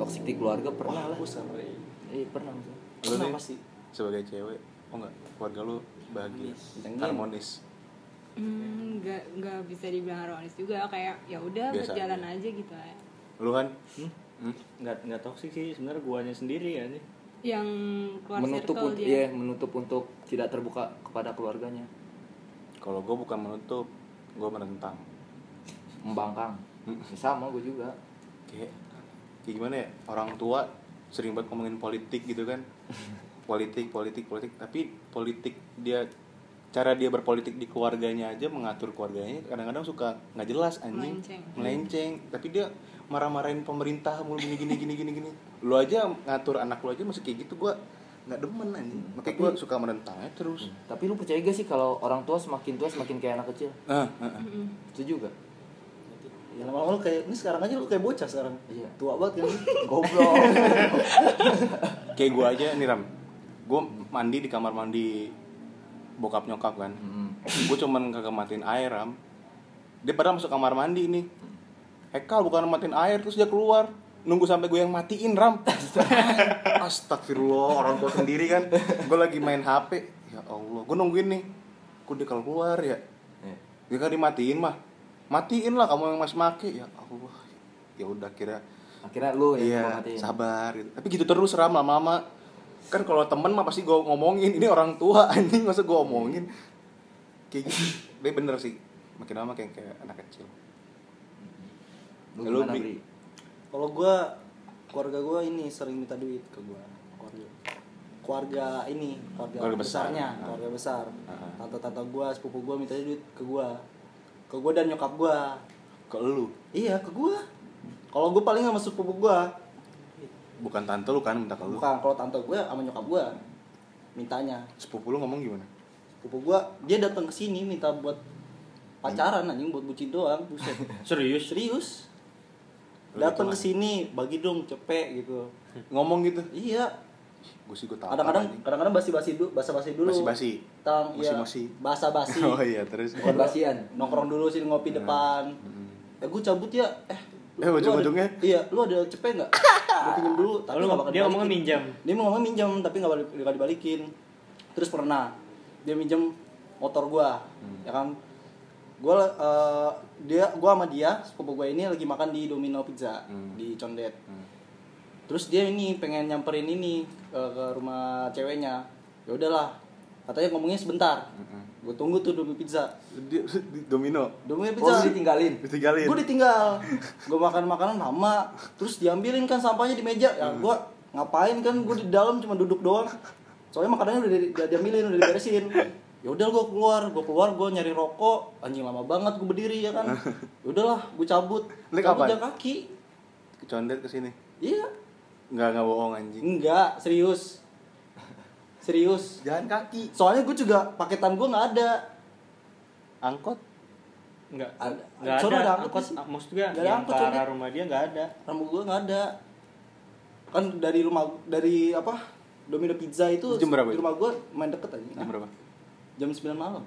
Speaker 2: toksik di keluarga pernah lah
Speaker 1: Gue sama Ray.
Speaker 2: eh pernah
Speaker 4: lu nih
Speaker 1: Kenapa sih?
Speaker 4: sebagai cewek oh enggak keluarga lu bahagia harmonis
Speaker 5: Hmm, nggak nggak bisa dibilang harmonis juga kayak ya udah
Speaker 4: Biasa
Speaker 5: berjalan aja gitu aja.
Speaker 4: lu kan
Speaker 3: nggak nggak toksik sih sebenarnya guanya sendiri ya nih
Speaker 5: yang keluar
Speaker 2: menutup
Speaker 5: circle
Speaker 2: untuk
Speaker 5: dia
Speaker 2: iya, menutup untuk tidak terbuka kepada keluarganya
Speaker 4: kalau gue bukan menutup gue menentang
Speaker 2: membangkang Ya, sama gue juga
Speaker 4: kayak kayak gimana ya orang tua sering banget ngomongin politik gitu kan politik politik politik tapi politik dia cara dia berpolitik di keluarganya aja mengatur keluarganya kadang-kadang suka nggak jelas anjing
Speaker 5: Melenceng.
Speaker 4: melenceng tapi dia marah-marahin pemerintah mulu gini gini gini gini gini lu aja ngatur anak lu aja masih kayak gitu gua nggak demen anjing makanya gua suka menentangnya terus
Speaker 2: tapi lu percaya gak sih kalau orang tua semakin tua semakin kayak anak kecil
Speaker 4: ah ah, ah.
Speaker 2: setuju gak
Speaker 1: Ya lama-lama lu kayak ini sekarang aja lu kayak bocah sekarang.
Speaker 2: Iya.
Speaker 1: Tua banget kan.
Speaker 2: [laughs] goblok
Speaker 4: kayak gua aja nih ram gue mandi di kamar mandi bokap nyokap
Speaker 2: Hmm.
Speaker 4: kan gue cuman kagak matiin air ram dia padahal masuk kamar mandi nih Hekal bukan matiin air terus dia keluar nunggu sampai gue yang matiin ram [laughs] astagfirullah orang tua sendiri kan gue lagi main hp ya allah gue nungguin nih kok dia keluar ya
Speaker 2: Eh,
Speaker 4: dia kan dimatiin mah matiin lah kamu yang masih make ya allah ya udah kira
Speaker 2: akhirnya lu yang
Speaker 4: Iya,
Speaker 2: menghormati.
Speaker 4: sabar gitu. Tapi gitu terus ram lama-lama kan kalau temen mah pasti gue ngomongin ini orang tua [laughs] anjing masa gue omongin kayak gitu tapi bener sih makin lama kayak, kayak anak kecil
Speaker 2: lu
Speaker 4: Lu
Speaker 2: gimana
Speaker 4: beli-
Speaker 2: beli
Speaker 1: Kalau gua keluarga gua ini sering minta duit ke gua. Keluarga keluarga ini keluarga,
Speaker 4: Keluarga besar.
Speaker 1: besarnya
Speaker 4: Ah.
Speaker 1: keluarga besar
Speaker 4: Ah.
Speaker 1: tante-tante gua sepupu gua minta duit ke gua ke gua dan nyokap gua
Speaker 4: ke lu
Speaker 1: iya ke gua kalau gua paling sama sepupu gua
Speaker 4: bukan tante lu kan minta ke lu
Speaker 1: bukan kalau tante gua sama nyokap gua mintanya
Speaker 4: sepupu lu ngomong gimana
Speaker 1: sepupu gua dia datang ke sini minta buat pacaran anjing buat bucin doang
Speaker 4: [laughs]
Speaker 1: buset
Speaker 3: serius
Speaker 1: serius
Speaker 4: Lu
Speaker 1: datang
Speaker 4: hitungan.
Speaker 1: ke sini bagi dong cepek gitu
Speaker 4: ngomong gitu
Speaker 1: iya
Speaker 4: gue sih gue tahu
Speaker 1: kadang-kadang kadang-kadang basi-basi dulu basa-basi dulu
Speaker 4: Basi-basi?
Speaker 1: tang ya
Speaker 4: Mosi-mosi?
Speaker 1: basa-basi
Speaker 4: [laughs] oh iya terus
Speaker 2: bukan basian
Speaker 1: nongkrong dulu sini ngopi depan eh gue cabut ya eh
Speaker 4: Nah. Hmm. Eh,
Speaker 1: lu
Speaker 4: ujung-ujungnya?
Speaker 1: ada- iya lu ada cepet
Speaker 4: [laughs]
Speaker 1: nggak gue pinjam dulu tapi
Speaker 3: Lu
Speaker 1: nggak
Speaker 3: ngom-
Speaker 1: bakal
Speaker 3: dia ngomongnya
Speaker 1: dibalikin.
Speaker 3: minjam.
Speaker 1: dia mau ngomong minjam tapi nggak balik nggak dibalikin terus pernah dia minjem motor gua
Speaker 4: Hmm.
Speaker 1: ya kan gua eh, dia gua sama dia sepupu gua ini lagi makan di Domino Pizza
Speaker 4: Hmm.
Speaker 1: di Condet
Speaker 4: Hmm.
Speaker 1: terus dia ini pengen nyamperin ini ke, ke rumah ceweknya ya udahlah katanya ngomongnya sebentar
Speaker 4: Mm-mm.
Speaker 1: gue tunggu tuh Domino Pizza
Speaker 4: Dia- di domino
Speaker 1: Domino
Speaker 2: oh
Speaker 1: Pizza
Speaker 2: lu ditinggalin
Speaker 4: ditinggalin
Speaker 1: gue ditinggal gue makan makanan lama terus diambilin kan sampahnya di meja ya gue ngapain kan gue di dalam cuma duduk doang soalnya makanannya udah, di- udah diambilin udah diberesin ya udah gue keluar gue keluar gue nyari rokok anjing lama banget gue berdiri ya
Speaker 4: [laughs]
Speaker 1: kan ya udahlah gue cabut
Speaker 4: Lu
Speaker 1: cabut
Speaker 4: kapan?
Speaker 1: jalan kaki
Speaker 4: condet kesini
Speaker 1: iya
Speaker 4: nggak nggak bohong anjing
Speaker 1: enggak serius serius
Speaker 4: jalan kaki
Speaker 1: soalnya gue juga paketan gue nggak ada
Speaker 4: angkot
Speaker 3: nggak
Speaker 1: Ada-
Speaker 3: nggak
Speaker 1: Sono ada
Speaker 3: ada
Speaker 1: angkot
Speaker 3: angkot
Speaker 1: sih.
Speaker 3: ah, maksud gue
Speaker 1: Nggak ada
Speaker 3: yang
Speaker 1: angkot,
Speaker 3: ke
Speaker 1: Sono.
Speaker 3: arah rumah dia nggak ada
Speaker 1: rambut gue nggak ada kan dari rumah dari apa Domino Pizza itu
Speaker 4: Jam berapa
Speaker 1: di
Speaker 4: itu?
Speaker 1: rumah gue main deket aja
Speaker 4: jam berapa
Speaker 1: jam 9 malam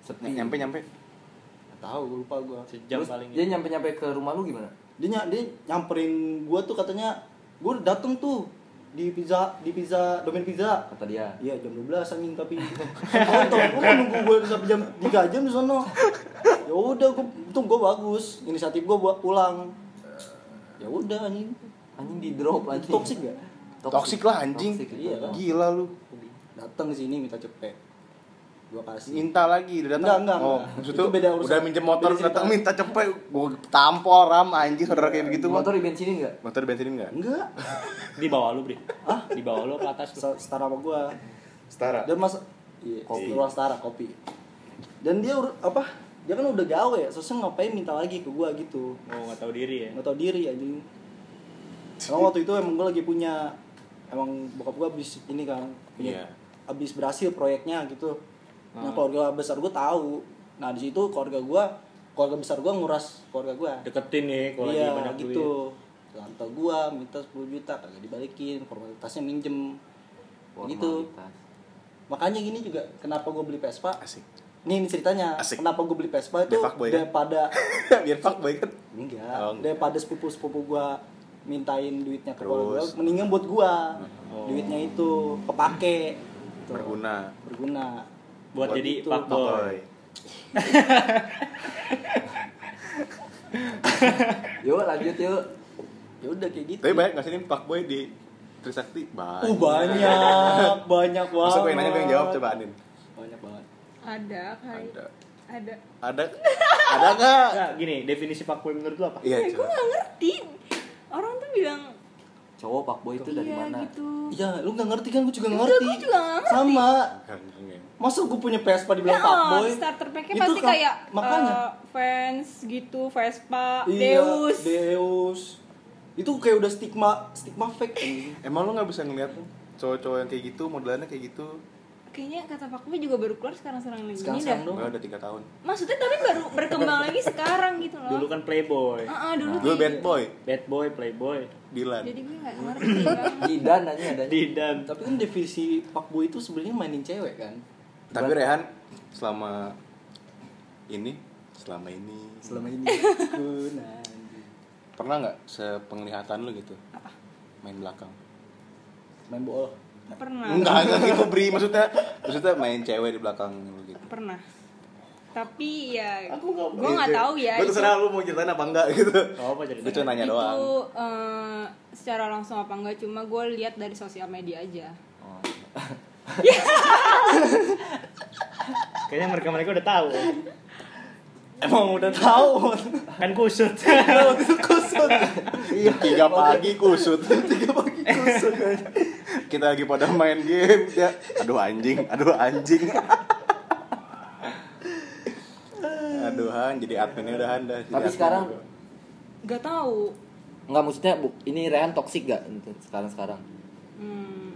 Speaker 2: sepi
Speaker 4: nyampe nyampe
Speaker 1: Gak tahu gue lupa gue
Speaker 3: sejam
Speaker 2: Terus
Speaker 3: paling
Speaker 2: dia
Speaker 5: gitu.
Speaker 2: nyampe nyampe ke rumah lu gimana
Speaker 1: dia, ny- dia nyamperin gue tuh katanya gue dateng tuh di pizza di pizza Domino Pizza
Speaker 2: kata dia
Speaker 1: Iya jam 12 anjing
Speaker 4: [laughs]
Speaker 1: tapi nonton gue nunggu gue sampai jam 3 jam di sono. Ya udah gue untung gue bagus, inisiatif gue buat pulang. Ya udah anjing.
Speaker 2: anjing di drop anjing
Speaker 1: Toxic gak?
Speaker 4: toksik lah anjing
Speaker 2: Toxic,
Speaker 1: Iya lah.
Speaker 4: gila lu
Speaker 1: Datang sini minta cepet. Gue kasih.
Speaker 4: minta lagi
Speaker 1: Enggak,
Speaker 4: udah datang
Speaker 1: enggak,
Speaker 4: oh
Speaker 1: enggak.
Speaker 4: maksud
Speaker 1: Itu
Speaker 4: tuh
Speaker 1: beda urusan.
Speaker 4: udah minjem motor
Speaker 1: Beda cerita.
Speaker 4: datang minta cepet gue tampol ram anjing saudara kayak begitu
Speaker 2: motor
Speaker 4: motor
Speaker 2: di bensinin gak
Speaker 4: motor bensinin nggak
Speaker 1: Enggak,
Speaker 3: di bawah lu bri ah di bawah lu ke atas lu
Speaker 1: se- setara sama gue.
Speaker 4: setara
Speaker 1: Dan mas, iya,
Speaker 4: Kopi.
Speaker 1: ruang setara kopi. Dan dia ur- apa? Dia kan udah gawe ya, sosok ngapain minta lagi ke gue gitu.
Speaker 3: oh nggak tahu diri ya
Speaker 1: nggak tau diri anjing emang waktu itu emang gue lagi punya emang bokap gue abis ini kan punya
Speaker 4: Iya.
Speaker 1: abis berhasil proyeknya gitu
Speaker 3: Hmm.
Speaker 1: nah keluarga besar gue tahu nah di situ keluarga gue keluarga besar gue nguras keluarga gue
Speaker 3: deketin nih kalau lagi
Speaker 1: iya
Speaker 3: banyak duit
Speaker 1: gitu tante gue minta 10 juta kagak dibalikin formalitasnya minjem gitu
Speaker 2: Formalitas.
Speaker 1: makanya gini juga kenapa gue beli Vespa
Speaker 4: Asik. [laughs]
Speaker 1: ini, ini ceritanya
Speaker 4: Asik.
Speaker 1: kenapa gue beli Vespa itu
Speaker 4: Dia fuckboy kan?
Speaker 1: daripada
Speaker 4: Biar fuckboy kan.
Speaker 1: enggak,
Speaker 4: Oh, enggak.
Speaker 1: daripada sepupu-sepupu gue mintain duitnya ke keluarga
Speaker 4: Terus.
Speaker 1: gue
Speaker 4: Oh.
Speaker 1: mendingan buat gue duitnya itu kepake Gitu.
Speaker 4: Berguna.
Speaker 1: berguna
Speaker 3: buat,
Speaker 4: Buat
Speaker 3: jadi
Speaker 1: itu,
Speaker 3: fuckboy.
Speaker 2: Yuk lanjut yuk.
Speaker 1: ya udah kayak gitu
Speaker 4: Tapi banyak nggak sih nih fuckboy di Trisakti? Banyak.
Speaker 1: Oh
Speaker 4: [laughs]
Speaker 1: banyak, banyak banget.
Speaker 4: Masa gue yang nanya gue yang jawab coba Anin.
Speaker 1: Banyak banget.
Speaker 5: ada kali
Speaker 4: Ada.
Speaker 5: ada
Speaker 4: Ada ada
Speaker 1: [laughs]
Speaker 4: nggak?
Speaker 3: Nah, gini, definisi fuckboy menurut lu apa?
Speaker 4: Iya,
Speaker 5: ya, gue
Speaker 4: coba.
Speaker 5: nggak ngerti orang tuh bilang
Speaker 2: Cowok fuckboy itu dari
Speaker 5: iya
Speaker 2: mana?
Speaker 5: gitu
Speaker 1: Iya, lu gak ngerti kan? Gue juga
Speaker 5: Enggak,
Speaker 1: ngerti.
Speaker 5: gua juga nggak ngerti.
Speaker 1: Sama.
Speaker 4: Ganteng ya.
Speaker 1: Masa gue punya Vespa dibilang
Speaker 5: Nah,
Speaker 1: fuckboy?
Speaker 5: starter packnya
Speaker 1: Itu
Speaker 5: pasti
Speaker 1: kan-
Speaker 5: kayak
Speaker 1: makanya.
Speaker 5: eh, fans gitu, Vespa,
Speaker 1: Iya,
Speaker 5: Deus.
Speaker 1: Deus. Itu kayak udah stigma stigma fake. anjing.
Speaker 4: Emang lu nggak bisa ngeliat cowok-cowok yang kayak gitu modelannya kayak gitu?
Speaker 5: Kayaknya kata Pak Kupi juga baru keluar sekarang sekarang lagi
Speaker 1: Sekarang
Speaker 5: ini
Speaker 1: sekarang
Speaker 5: dah.
Speaker 1: dong.
Speaker 4: Gue udah tiga tahun.
Speaker 5: Maksudnya tapi baru berkembang lagi sekarang gitu loh.
Speaker 3: Dulu kan playboy,
Speaker 5: Heeh, dulu
Speaker 4: Gue
Speaker 5: kayak
Speaker 4: bad boy,
Speaker 3: bad boy, playboy,
Speaker 4: Dilan.
Speaker 5: Jadi gue gak ngerti banget.
Speaker 2: Didan aja adanya.
Speaker 3: didan.
Speaker 1: Tapi kan definisi fuckboy itu sebenarnya mainin cewek kan?
Speaker 4: Tapi Rehan selama ini, selama ini
Speaker 1: Selama
Speaker 5: [laughs]
Speaker 1: ini aku nanti.
Speaker 4: pernah nggak sepenglihatan lu gitu? Main belakang.
Speaker 1: main bola.
Speaker 5: Pernah.
Speaker 4: Enggak, enggak gitu Bri, maksudnya maksudnya main cewek di belakang lu gitu.
Speaker 5: Pernah. Tapi ya gue gak tahu ya.
Speaker 4: Gue Gitu.
Speaker 5: itu-
Speaker 4: terserah lu mau ceritain apa enggak gitu.
Speaker 3: Oh, apa jadi?
Speaker 4: Gue cuma nanya
Speaker 5: itu
Speaker 4: doang.
Speaker 5: eh, secara langsung apa enggak cuma gue lihat dari sosial media aja
Speaker 3: Kayaknya mereka mereka udah tahu.
Speaker 1: Emang udah tahu.
Speaker 3: Kan kusut.
Speaker 5: Nah,
Speaker 1: Kusut.
Speaker 4: Tiga pagi kusut. Tiga pagi kusut. [laughs] Kita lagi pada main game ya. Aduh anjing, aduh anjing. Aduh Han, jadi adminnya udah Han dah. jadi
Speaker 2: Tapi
Speaker 4: admin
Speaker 2: sekarang
Speaker 4: juga.
Speaker 5: Gak tahu
Speaker 2: nggak maksudnya bu, ini Rehan toksik gak sekarang sekarang?
Speaker 5: hmm,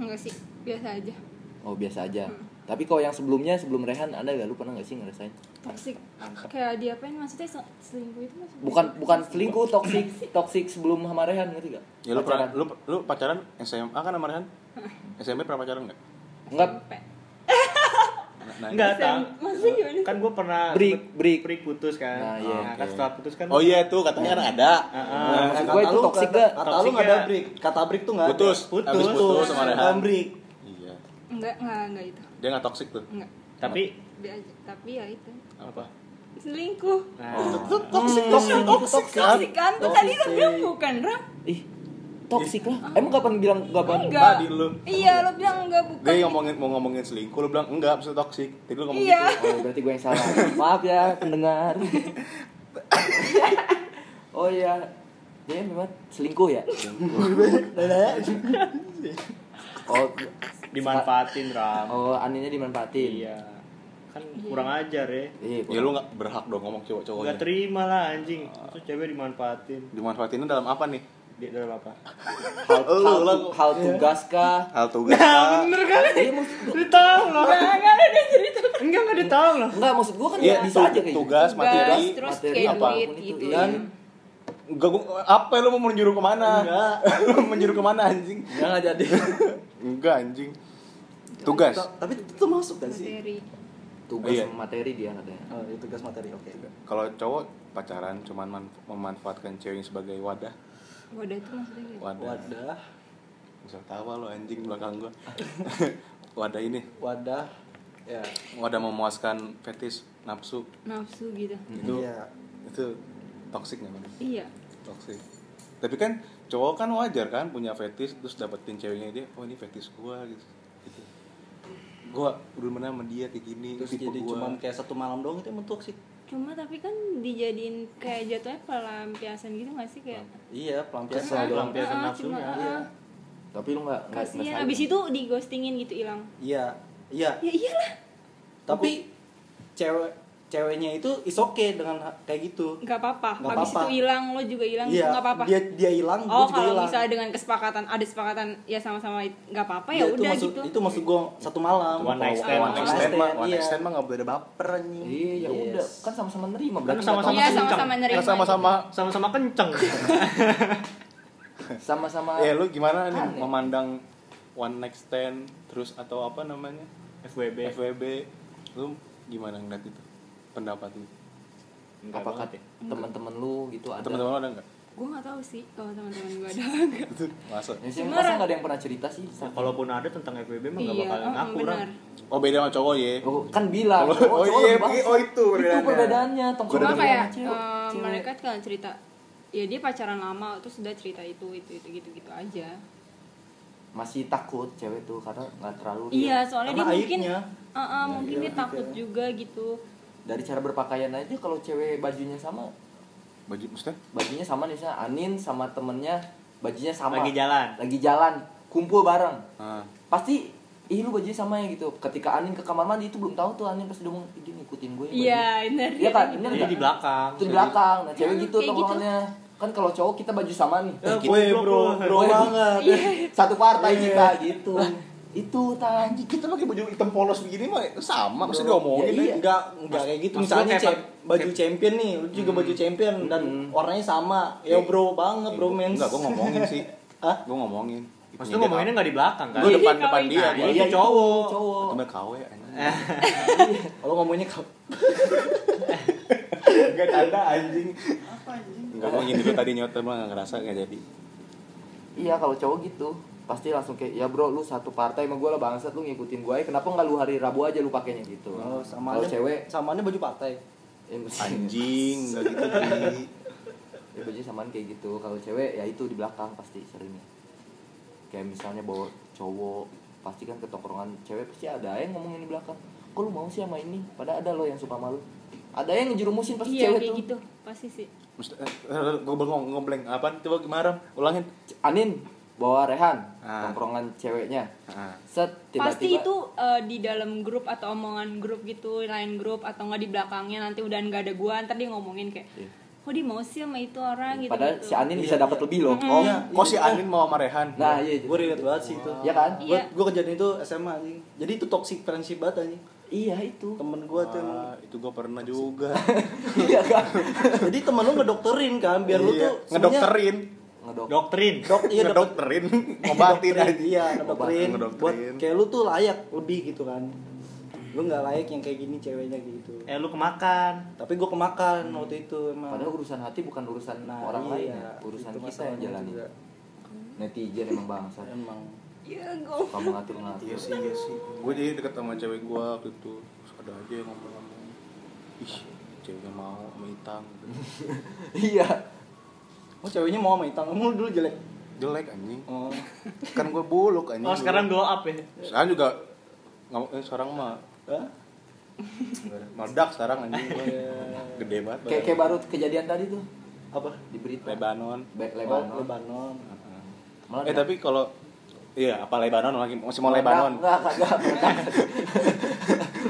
Speaker 5: enggak sih biasa aja
Speaker 2: Oh biasa aja. Tapi kalau yang sebelumnya sebelum Rehan ada gak lu pernah gak sih ngerasain?
Speaker 5: toxic kayak diapain maksudnya se- selingkuh itu maksudnya
Speaker 2: Bukan bukan selingkuh toksik toksik sebelum sama Rehan ngerti gak?
Speaker 4: Ya lu
Speaker 2: Pacaran.
Speaker 4: pernah lu, lu pacaran SMA kan sama Rehan? SMA pernah pacaran enggak?
Speaker 2: Enggak
Speaker 5: Sampai.
Speaker 4: Nah,
Speaker 3: Enggak tahu.
Speaker 5: maksudnya gimana sih?
Speaker 3: Kan gue pernah
Speaker 2: Break, break.
Speaker 3: putus kan.
Speaker 2: Nah, iya.
Speaker 3: kan setelah putus kan.
Speaker 4: Oh iya tuh katanya kan ada.
Speaker 3: Heeh.
Speaker 2: Maksud
Speaker 1: Kata
Speaker 2: gue itu
Speaker 1: lu
Speaker 2: toksik
Speaker 1: kata-
Speaker 2: gak?
Speaker 1: Kata lu
Speaker 3: Toksik
Speaker 1: nggak ada
Speaker 3: gak?
Speaker 1: break. Kata break tuh nggak ada.
Speaker 4: Putus, habis putus sama Rehan.
Speaker 1: Nggak break.
Speaker 4: Iya.
Speaker 5: enggak enggak enggak itu
Speaker 4: Dia enggak toksik tuh.
Speaker 5: enggak
Speaker 3: Tapi
Speaker 5: Dia aja. tapi ya itu
Speaker 2: Oh.
Speaker 4: Apa?
Speaker 5: selingkuh
Speaker 3: nah,
Speaker 4: Itu toksik, toksik, toksik. kan?
Speaker 5: toxic kan tuh tadi udah bilang bukan ram
Speaker 2: ih toksik lah. Emang kapan bilang gak apa?
Speaker 5: enggak
Speaker 4: Tadi lu.
Speaker 5: iya lo bilang enggak bukan
Speaker 4: Dia ngomongin mau ngomongin selingkuh, lu bilang enggak, maksudnya toksik. Jadi lu ngomong
Speaker 5: iya
Speaker 4: gitu.
Speaker 2: Oh, berarti gue yang salah. Maaf ya pendengar. oh iya. Dia memang selingkuh ya? [laughs] Oh,
Speaker 3: dimanfaatin ram.
Speaker 2: oh aninnya dimanfaatin.
Speaker 3: Iya. Kan kurang ajar ya.
Speaker 2: Iya.
Speaker 4: Ya lu enggak berhak dong ngomong
Speaker 2: Oh,
Speaker 3: Gak
Speaker 4: cowok-cowoknya.
Speaker 3: terima lah anjing. Itu cewek dimanfaatin.
Speaker 4: Dimanfaatinnya dalam apa nih?
Speaker 3: Dia dalam apa?
Speaker 2: hal,
Speaker 4: Lu,
Speaker 2: hal,
Speaker 4: lu.
Speaker 2: hal tugas kah?
Speaker 4: Hal tugas. kah?
Speaker 2: Ah,
Speaker 3: bener kan?
Speaker 2: iya,
Speaker 3: Dia tahu loh. Enggak ada cerita. Enggak enggak dia tahu loh.
Speaker 2: Enggak, maksud gua kan
Speaker 4: Iya,
Speaker 2: bisa
Speaker 4: tu-
Speaker 2: aja kayak gitu.
Speaker 4: tugas, materi.
Speaker 5: Tugas, terus
Speaker 2: materi
Speaker 5: kayak
Speaker 2: apa?
Speaker 5: duit
Speaker 2: Itu,
Speaker 5: gitu
Speaker 2: iya.
Speaker 5: ya
Speaker 4: Enggak gua apa lu mau menjuru kemana?
Speaker 1: Enggak.
Speaker 4: [laughs] lu menjuru kemana anjing?
Speaker 1: Nggak nggak jadi.
Speaker 4: Enggak anjing.
Speaker 1: Ya,
Speaker 4: Tugas.
Speaker 1: Ta- Tapi itu tuh masuk kan sih?
Speaker 5: materi
Speaker 2: Tugas
Speaker 4: Iya.
Speaker 2: sama materi dia katanya.
Speaker 1: Oh, itu tugas materi. Oke.
Speaker 4: Kalau cowok pacaran cuman manf- memanfaatkan cewek sebagai wadah.
Speaker 5: wadah itu maksudnya gitu
Speaker 4: Wadah.
Speaker 1: Wadah,
Speaker 4: Bisa tawa lo anjing belakang gua. [laughs] wadah ini,
Speaker 1: wadah. Ya.
Speaker 4: wadah memuaskan fetish nafsu.
Speaker 5: nafsu gitu
Speaker 4: Itu
Speaker 1: Iya.
Speaker 4: itu toksik namanya.
Speaker 5: iya
Speaker 4: Toksik. Tapi kan cowok kan wajar kan punya fetish terus dapetin ceweknya dia, oh ini fetish gua gitu. gitu. Gua udah mana sama dia kayak gini,
Speaker 1: Terus
Speaker 4: tipe
Speaker 1: jadi
Speaker 4: gua.
Speaker 1: cuman kayak satu malam doang itu emang toksik.
Speaker 5: cuma tapi kan dijadiin kayak jatuhnya pelampiasan gitu gak sih kayak
Speaker 1: Iya,
Speaker 5: Ah,
Speaker 1: pelampiasan doang.
Speaker 3: pelampiasan
Speaker 5: ah,
Speaker 3: nafsunya,
Speaker 5: cuma, ah,
Speaker 1: iya.
Speaker 5: ah.
Speaker 2: Tapi lu enggak enggak
Speaker 5: kasihan abis itu di ghostingin gitu hilang
Speaker 1: Iya. Iya.
Speaker 5: ya iyalah
Speaker 1: Tapi cewek ceweknya itu is okay dengan ha- kayak gitu.
Speaker 5: nggak apa-apa
Speaker 1: Nggak
Speaker 5: abis
Speaker 1: apa-apa.
Speaker 5: itu hilang lo juga hilang
Speaker 1: Iya,
Speaker 5: itu gitu, nggak apa-apa
Speaker 1: dia dia hilang,
Speaker 5: oh
Speaker 1: gua juga
Speaker 5: kalau
Speaker 1: hilang.
Speaker 5: misalnya dengan kesepakatan ada kesepakatan ya sama-sama nggak apa-apa
Speaker 1: Iya,
Speaker 5: ya
Speaker 1: itu
Speaker 5: udah
Speaker 1: maksud,
Speaker 5: gitu
Speaker 1: Itu maksud gua satu malam.
Speaker 3: One night
Speaker 4: Eh,
Speaker 3: stand.
Speaker 4: one night stand mah, one night
Speaker 1: iya.
Speaker 4: stand mah nggak boleh ada baper anjing.
Speaker 2: Iya, ya
Speaker 1: Yes.
Speaker 2: udah, kan sama-sama nerima berarti
Speaker 3: sama-sama
Speaker 5: iya
Speaker 3: kencang.
Speaker 5: sama-sama nerima
Speaker 4: Karena sama-sama
Speaker 3: Sama-sama
Speaker 2: [laughs]
Speaker 3: kenceng.
Speaker 2: sama-sama
Speaker 4: Ya lu gimana nih
Speaker 2: Aneh.
Speaker 4: memandang one night stand terus atau apa namanya
Speaker 3: FWB
Speaker 4: FWB lu gimana ngeliat itu pendapat lu
Speaker 3: Enggak
Speaker 2: apakah
Speaker 3: banget ya.
Speaker 2: teman-teman lu gitu ada
Speaker 4: teman-teman lu ada nggak Gitu.
Speaker 5: gue nggak tahu sih kalau teman-teman gue ada nggak
Speaker 4: itu masa
Speaker 2: Ya, sih,
Speaker 5: Cuma-
Speaker 2: masa nggak ada yang pernah cerita sih
Speaker 3: Nah, kalaupun ada tentang FWB mah nggak
Speaker 5: iya
Speaker 3: bakal
Speaker 5: oh,
Speaker 3: ngaku Ram.
Speaker 5: benar
Speaker 4: oh beda sama cowok ya
Speaker 2: Oh, kan bilang
Speaker 4: Kalau-
Speaker 2: cowok-
Speaker 4: oh
Speaker 2: cowok
Speaker 4: iya,
Speaker 2: lebih bangsa.
Speaker 4: oh itu perbedaannya.
Speaker 2: itu perbedaannya tongkrongan
Speaker 5: cuma
Speaker 2: sama
Speaker 5: kayak
Speaker 2: cewek-
Speaker 5: eh,
Speaker 2: cewek.
Speaker 5: mereka kan cerita ya dia pacaran lama terus sudah cerita itu itu itu gitu gitu aja
Speaker 2: masih takut cewek tuh karena nggak terlalu
Speaker 5: iya
Speaker 2: real.
Speaker 5: soalnya dia
Speaker 1: Karena
Speaker 5: mungkin
Speaker 1: aibnya.
Speaker 5: Eh,
Speaker 2: Iya,
Speaker 5: eh, mungkin dia takut juga gitu
Speaker 2: dari cara berpakaian aja kalau cewek bajunya sama
Speaker 4: baju maksudnya
Speaker 2: bajunya sama nih misalnya Anin sama temennya bajunya sama
Speaker 3: Lagi jalan.
Speaker 2: lagi jalan kumpul bareng
Speaker 4: ah
Speaker 2: pasti ih lu bajunya sama ya gitu ketika Anin ke kamar mandi itu belum tahu tuh Anin pasti udah mau "Ih, dia ngikutin gue ya bajunya."
Speaker 5: iya benar
Speaker 2: Iya kan, bener
Speaker 3: Jadi
Speaker 2: nggak?
Speaker 3: di belakang.
Speaker 2: itu di belakang nah cewek
Speaker 5: Hmm,
Speaker 2: gitu
Speaker 5: kayak gitu. Iya.
Speaker 2: tongkrongannya kan kalau cowok kita baju sama nih
Speaker 3: Eh,
Speaker 1: Gue bro, bro
Speaker 2: Woy.
Speaker 1: banget.
Speaker 2: [laughs] satu partai kita gitu itu tang
Speaker 4: kita pakai baju hitam polos begini mah
Speaker 1: Ah,
Speaker 4: sama
Speaker 2: Bro,
Speaker 4: maksudnya diomongin
Speaker 2: ya iya.
Speaker 4: aja.
Speaker 1: Enggak, enggak eh? kayak gitu.
Speaker 3: maksud
Speaker 1: Misalnya
Speaker 3: gua kayak
Speaker 1: cem-
Speaker 3: pa-
Speaker 1: baju
Speaker 3: kayak-
Speaker 1: champion nih, lu juga baju champion dan warnanya sama. Ya
Speaker 4: Eh,
Speaker 1: bro banget,
Speaker 4: Eh,
Speaker 1: bro
Speaker 4: gua-
Speaker 1: men.
Speaker 4: enggak gue ngomongin sih
Speaker 1: Hah?
Speaker 4: gue ngomongin
Speaker 3: Maksudnya ngomonginnya nggak di belakang kan?
Speaker 4: gue depan depan
Speaker 5: Jadi
Speaker 4: dia
Speaker 3: Nah,
Speaker 4: gue
Speaker 3: iya, itu cowok.
Speaker 1: Oh.
Speaker 2: cowok
Speaker 4: temen KW anjing.
Speaker 1: [laughs] Kalau ngomongnya kau
Speaker 4: Gak tanda anjing. Enggak mau gini dulu tadi nyoto mah gak ngerasa gak jadi.
Speaker 2: iya kalau cowok gitu pasti langsung kayak ya bro lu satu partai sama gue lah bangsat lu ngikutin gue aja kenapa nggak lu hari Rabu aja lu pakainya gitu
Speaker 1: Oh, sama
Speaker 2: kalau cewek
Speaker 1: samanya baju partai.
Speaker 2: ya, mesti-
Speaker 4: Anjing gak gitu Ji.
Speaker 2: ya bajunya samaan kayak gitu kalau cewek ya itu di belakang pasti seringnya kayak misalnya bawa cowok pasti kan ke tongkrongan cewek pasti ada yang ngomongin di belakang kok lu mau sih sama ini padahal ada lo yang suka malu ada yang ngerumusin pasti
Speaker 5: iya
Speaker 2: cewek
Speaker 5: kayak
Speaker 2: tuh
Speaker 5: gitu pasti sih
Speaker 4: Mesti- eh, eh, Gue bengong ngebleng apa? Coba gimana? Ram? Ulangin.
Speaker 2: Anin bawa Rehan
Speaker 4: Ah.
Speaker 2: tongkrongan ceweknya
Speaker 4: Ah.
Speaker 2: set tiba-tiba
Speaker 5: pasti itu eh, di dalam grup atau omongan grup gitu lain grup atau nggak di belakangnya nanti udah nggak ada gua ntar dia ngomongin kayak
Speaker 2: Iya.
Speaker 5: kok dia mau sih sama itu orang gitu
Speaker 2: padahal si Anin bisa dapat lebih loh
Speaker 4: Oh,
Speaker 1: Iya,
Speaker 4: kok si Anin mau sama Rehan?
Speaker 2: nah iya
Speaker 1: Gue relate banget sih itu.
Speaker 2: ya kan
Speaker 1: Gue
Speaker 5: Iya.
Speaker 1: gue kejadian itu SMA anjing. Jadi itu toxic friendship banget anjing.
Speaker 2: iya itu
Speaker 1: Temen gue tuh emang
Speaker 4: Wah, itu gue pernah juga.
Speaker 2: iya kan
Speaker 1: [laughs] Jadi temen lu ngedokterin kan biar lu
Speaker 4: Iya,
Speaker 1: tuh sebenarnya-
Speaker 4: ngedokterin.
Speaker 2: ngedok
Speaker 3: Doktrin.
Speaker 1: Dok,
Speaker 4: [laughs]
Speaker 1: iya dok,
Speaker 4: Ngedokterin, ngobatin
Speaker 1: Ngedokterin,
Speaker 4: aja.
Speaker 1: [laughs] Iya, ngedokterin.
Speaker 4: Ngedokterin.
Speaker 1: Buat kayak lu tuh layak lebih gitu kan. Lu nggak layak yang kayak gini ceweknya gitu.
Speaker 3: Eh lu kemakan.
Speaker 1: Tapi gue kemakan waktu itu emang.
Speaker 2: padahal urusan hati bukan urusan
Speaker 1: Nah,
Speaker 2: orang
Speaker 1: iya,
Speaker 2: lain ya. urusan
Speaker 1: itu
Speaker 2: kita yang
Speaker 1: masalahnya
Speaker 2: jalani
Speaker 1: juga.
Speaker 2: netizen emang bangsa
Speaker 1: Emang.
Speaker 5: ya gua
Speaker 2: kamu ngatur ngatur
Speaker 4: Iya sih, iya sih. Gue jadi deket sama cewek gue waktu itu. Terus ada aja yang ngomong-ngomong. Ih, ceweknya mau sama hitam.
Speaker 2: iya
Speaker 1: Oh ceweknya mau sama hitam, emang lu dulu jelek.
Speaker 4: Jelek anjing.
Speaker 1: Oh.
Speaker 4: kan gue buluk anjing
Speaker 3: Oh sekarang glow up ya.
Speaker 4: sekarang juga nggak eh, sekarang mah
Speaker 1: Hah?
Speaker 4: meledak sekarang anjing gua.
Speaker 1: Iya.
Speaker 4: gede banget
Speaker 2: kayak kayak baru kejadian tadi tuh
Speaker 1: Apa?
Speaker 2: di berita
Speaker 4: Lebanon
Speaker 2: Be-
Speaker 1: Lebanon.
Speaker 2: Lebanon
Speaker 1: Oh, Lebanon.
Speaker 2: Meledak.
Speaker 4: eh tapi kalau iya apa Lebanon lagi masih mau
Speaker 2: Meledak,
Speaker 4: Lebanon
Speaker 2: enggak kagak meledak.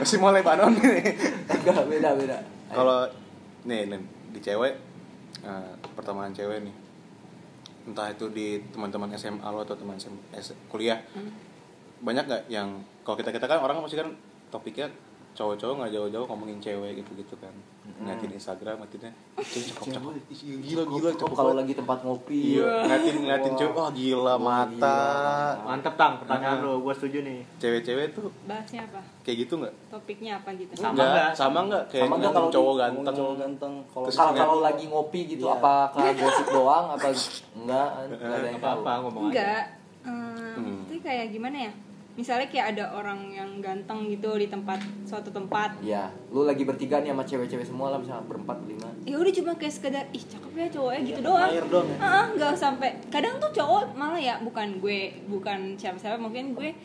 Speaker 4: masih mau Lebanon
Speaker 2: [laughs]
Speaker 4: nih
Speaker 2: kagak [laughs] beda beda
Speaker 4: kalau nih, nih di cewek eh, pertemanan cewek nih entah itu di teman-teman SMA lo atau teman SM S- kuliah
Speaker 2: Hmm.
Speaker 4: banyak nggak yang kalau kita kita kan orang pasti kan topiknya cowok-cowok nggak jauh-jauh ngomongin cewek gitu-gitu kan
Speaker 2: Hmm.
Speaker 4: ngeliatin Instagram ngeliatinnya cewek cakep cakep Ih, gila gila
Speaker 2: Oh,
Speaker 4: cakep
Speaker 2: kalau
Speaker 4: banget."
Speaker 2: lagi tempat ngopi
Speaker 4: iya ngeliatin ngeliatin cewek wah gila mata
Speaker 3: Mantep tang pertanyaan lu. Gue setuju nih.
Speaker 4: cewek-cewek tuh
Speaker 5: bahasnya apa
Speaker 4: kayak gitu nggak
Speaker 5: topiknya apa gitu
Speaker 3: Sama
Speaker 4: Nggak,
Speaker 3: nggak?
Speaker 4: sama nggak kayak
Speaker 2: Sama nggak
Speaker 4: ngeliatin
Speaker 2: kalau
Speaker 4: cowok
Speaker 2: di-
Speaker 4: ganteng
Speaker 1: Cowok ganteng kalau
Speaker 4: Terus
Speaker 2: kalau kalau lagi ngopi gitu
Speaker 1: Iya.
Speaker 2: apakah gosip doang apa gitu? enggak enggak ada yang
Speaker 3: Apa apa ngomong aja.
Speaker 5: enggak
Speaker 4: Hmm.
Speaker 5: itu kayak gimana ya misalnya kayak ada orang yang ganteng gitu di tempat suatu tempat
Speaker 2: Iya, lu lagi bertiga nih sama cewek-cewek semua lah misalnya berempat berlima.
Speaker 5: ya udah cuma kayak sekedar ih cakep ya cowoknya gitu doang
Speaker 1: air doang ya.
Speaker 5: Ah, nggak sampai kadang tuh cowok malah ya bukan gue bukan siapa-siapa mungkin gue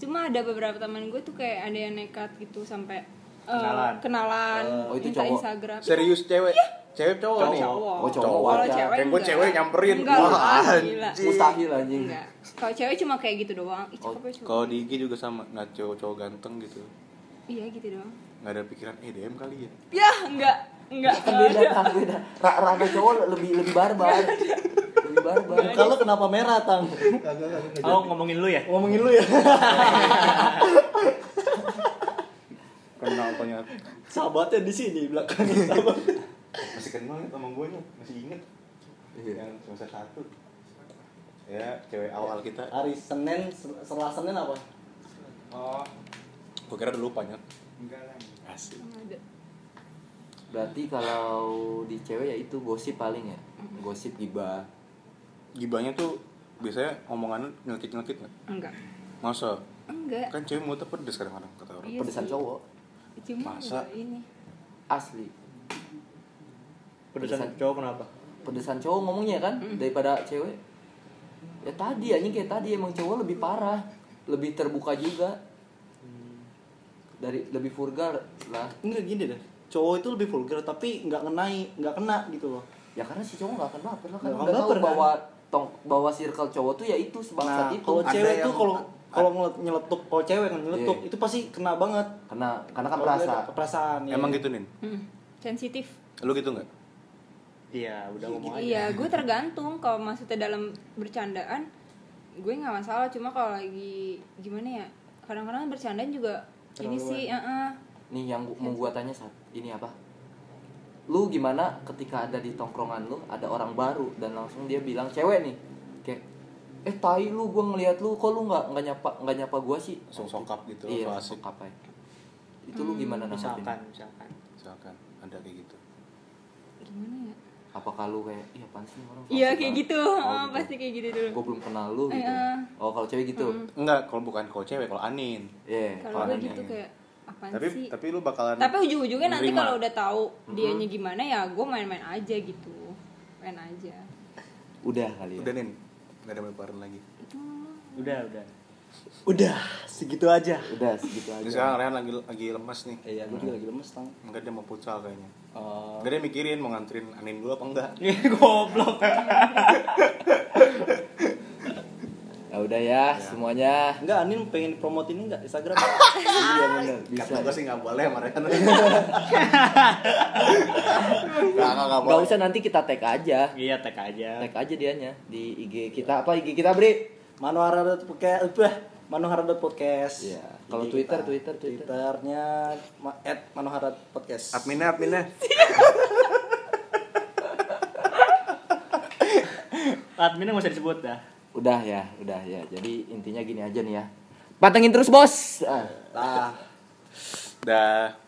Speaker 5: cuma ada beberapa teman gue tuh kayak ada yang nekat gitu sampai eh,
Speaker 3: Kenalan.
Speaker 5: kenalan
Speaker 2: Oh, itu
Speaker 5: minta
Speaker 2: cowok.
Speaker 5: Instagram
Speaker 4: serius cewek cewek cowok,
Speaker 5: Kalau
Speaker 4: nih
Speaker 5: cowok
Speaker 2: Oh, Iya. cowok.
Speaker 5: kalau
Speaker 2: Wajar.
Speaker 5: cewek
Speaker 4: Kayak gue
Speaker 5: enggak.
Speaker 4: cewek nyamperin.
Speaker 5: enggak
Speaker 4: Wah,
Speaker 5: lah, gila
Speaker 4: anjing.
Speaker 2: Mustahil anjing.
Speaker 5: enggak kalau cewek cuma kayak gitu doang ih cakep ya cowok
Speaker 4: kalau di IG juga sama nah cowok cowok ganteng gitu
Speaker 5: iya gitu doang
Speaker 4: nggak ada pikiran eh DM kali ya
Speaker 5: ya enggak enggak
Speaker 2: Kan beda kan beda. Ra- Rada cowok lebih lebih barbar. lebih barbar.
Speaker 1: Kalau kenapa merah tang?
Speaker 3: Oh ngomongin lu ya.
Speaker 1: Ngomongin lu ya. [laughs]
Speaker 4: kenal tanya
Speaker 1: Sahabatnya di sini
Speaker 4: [laughs]
Speaker 1: belakang sahabat.
Speaker 4: masih kenal ya sama gue nya masih inget
Speaker 2: Iya.
Speaker 4: yang semester satu ya cewek awal kita
Speaker 1: Hari Senin, Sel- Setelah Senin apa?
Speaker 6: Oh,
Speaker 4: gue kira udah lupa Nyet.
Speaker 6: enggak lah.
Speaker 4: asik
Speaker 5: ada
Speaker 2: Berarti kalau di cewek ya itu gosip paling ya. Gosip gibah.
Speaker 4: gibanya tuh biasanya omongannya nyelkit nyelkit
Speaker 5: enggak
Speaker 4: masa
Speaker 5: enggak
Speaker 4: kan cewek mulutnya pedes kadang-kadang kata orang
Speaker 5: Iya
Speaker 2: Pedesan
Speaker 5: sih.
Speaker 2: cowok
Speaker 5: cuma
Speaker 4: Masa?
Speaker 5: enggak ini
Speaker 2: asli.
Speaker 3: Pedesan
Speaker 2: Pedesan.
Speaker 3: cowok kenapa?
Speaker 2: Pedesan cowok ngomongnya kan daripada cewek. Ya tadi anjing kayak tadi emang cowok lebih parah, lebih terbuka juga. Dari lebih vulgar lah.
Speaker 1: Enggak gini deh. Cowok itu lebih vulgar tapi nggak ngenai, nggak kena gitu loh.
Speaker 2: Ya karena si cowok gak akan baper lah kan
Speaker 1: Nggak akan
Speaker 2: udah tahu
Speaker 1: baper, kan?
Speaker 2: bahwa tong bahwa circle cowok tuh ya itu
Speaker 1: Nah,
Speaker 2: sebangsat itu.
Speaker 1: kalau
Speaker 4: Ada
Speaker 1: cewek
Speaker 4: yang-
Speaker 1: tuh kalau kalau ngelet- nyeletuk, kalau cewek kan nyeletuk,
Speaker 2: Iya.
Speaker 1: itu pasti kena banget.
Speaker 2: Karena karena kan
Speaker 1: Kalau dia
Speaker 2: perasa.
Speaker 1: ada Perasaan. iya.
Speaker 4: emang gitu nin
Speaker 5: Hmm, sensitif
Speaker 4: lu gitu nggak
Speaker 3: Iya, udah ngomong aja.
Speaker 5: iya gue tergantung kalau maksudnya dalam bercandaan gue nggak masalah cuma kalau lagi gimana ya kadang-kadang bercandaan juga ini sih eh, eh.
Speaker 2: Nih yang gua- mau gua tanya saat ini apa? Lu gimana ketika ada di tongkrongan lu ada orang baru dan langsung dia bilang cewek nih. Kayak eh tai lu gua ngelihat lu kok lu nggak nggak nyapa nggak nyapa gua sih.
Speaker 4: langsung sokap gitu iya,
Speaker 2: iya, langsung
Speaker 4: asik Hmm,
Speaker 2: apa ya? Itu lu gimana
Speaker 3: Misalkan,
Speaker 2: nanggapin?
Speaker 3: misalkan.
Speaker 4: misalkan ada kayak gitu
Speaker 5: gimana ya
Speaker 2: Apakah lu kayak iya apaan sih ini orang?
Speaker 5: iya
Speaker 2: Asik
Speaker 5: kayak
Speaker 2: banget.
Speaker 5: gitu
Speaker 2: Oh,
Speaker 5: eh,
Speaker 2: gitu.
Speaker 5: pasti kayak gitu dulu
Speaker 2: Gua belum kenal lu gitu.
Speaker 5: Iya.
Speaker 2: Oh, kalau cewek gitu.
Speaker 4: enggak kalau bukan kalau cewek kalau anin
Speaker 2: Iya,
Speaker 5: kalau gue
Speaker 2: aneh.
Speaker 5: gitu kayak apaan
Speaker 4: tapi
Speaker 5: sih
Speaker 4: tapi lu bakalan
Speaker 5: tapi ujung-ujungnya nanti
Speaker 4: menerima.
Speaker 5: kalau udah tahu dianya gimana ya gue main-main aja gitu main aja
Speaker 2: udah kali ya.
Speaker 4: udah nin nggak ada lebaran lagi
Speaker 3: Udah, udah. [laughs]
Speaker 1: Udah, segitu aja.
Speaker 2: Udah segitu
Speaker 4: Ini
Speaker 2: aja.
Speaker 4: sekarang Rehan lagi lagi lemas nih
Speaker 1: Iya, gue juga lagi lemes tang.
Speaker 4: enggak dia mau futsal kayaknya
Speaker 1: Eh,
Speaker 4: enggak dia mikirin mau nganterin anin dulu apa enggak
Speaker 2: Iya,
Speaker 3: Ih, Goblok.
Speaker 2: Ya udah
Speaker 4: Iya.
Speaker 2: ya, semuanya.
Speaker 1: Enggak, Anin pengen promote ini enggak [laughs] Instagram?
Speaker 2: Iya benar, bisa.
Speaker 4: Kata gue sih nggak boleh sama
Speaker 2: [laughs]
Speaker 4: Rehan Nggak, nggak, nggak
Speaker 2: Gak
Speaker 4: boleh
Speaker 2: usah nanti kita tag aja.
Speaker 3: Iya, tag aja.
Speaker 2: Tag aja dianya di IG kita apa IG kita Bri?
Speaker 1: Manuhara podcast, eh, Manuhara podcast.
Speaker 2: Iya. Kalau Twitter, Twitter, Twitter.
Speaker 1: Twitternya ma- at Manuhara podcast.
Speaker 4: adminnya adminnya
Speaker 3: Adminnya nggak usah disebut dah.
Speaker 2: Udah ya, udah ya. Jadi intinya gini aja nih ya. Patengin terus bos. Ah.
Speaker 1: Lah.
Speaker 4: dah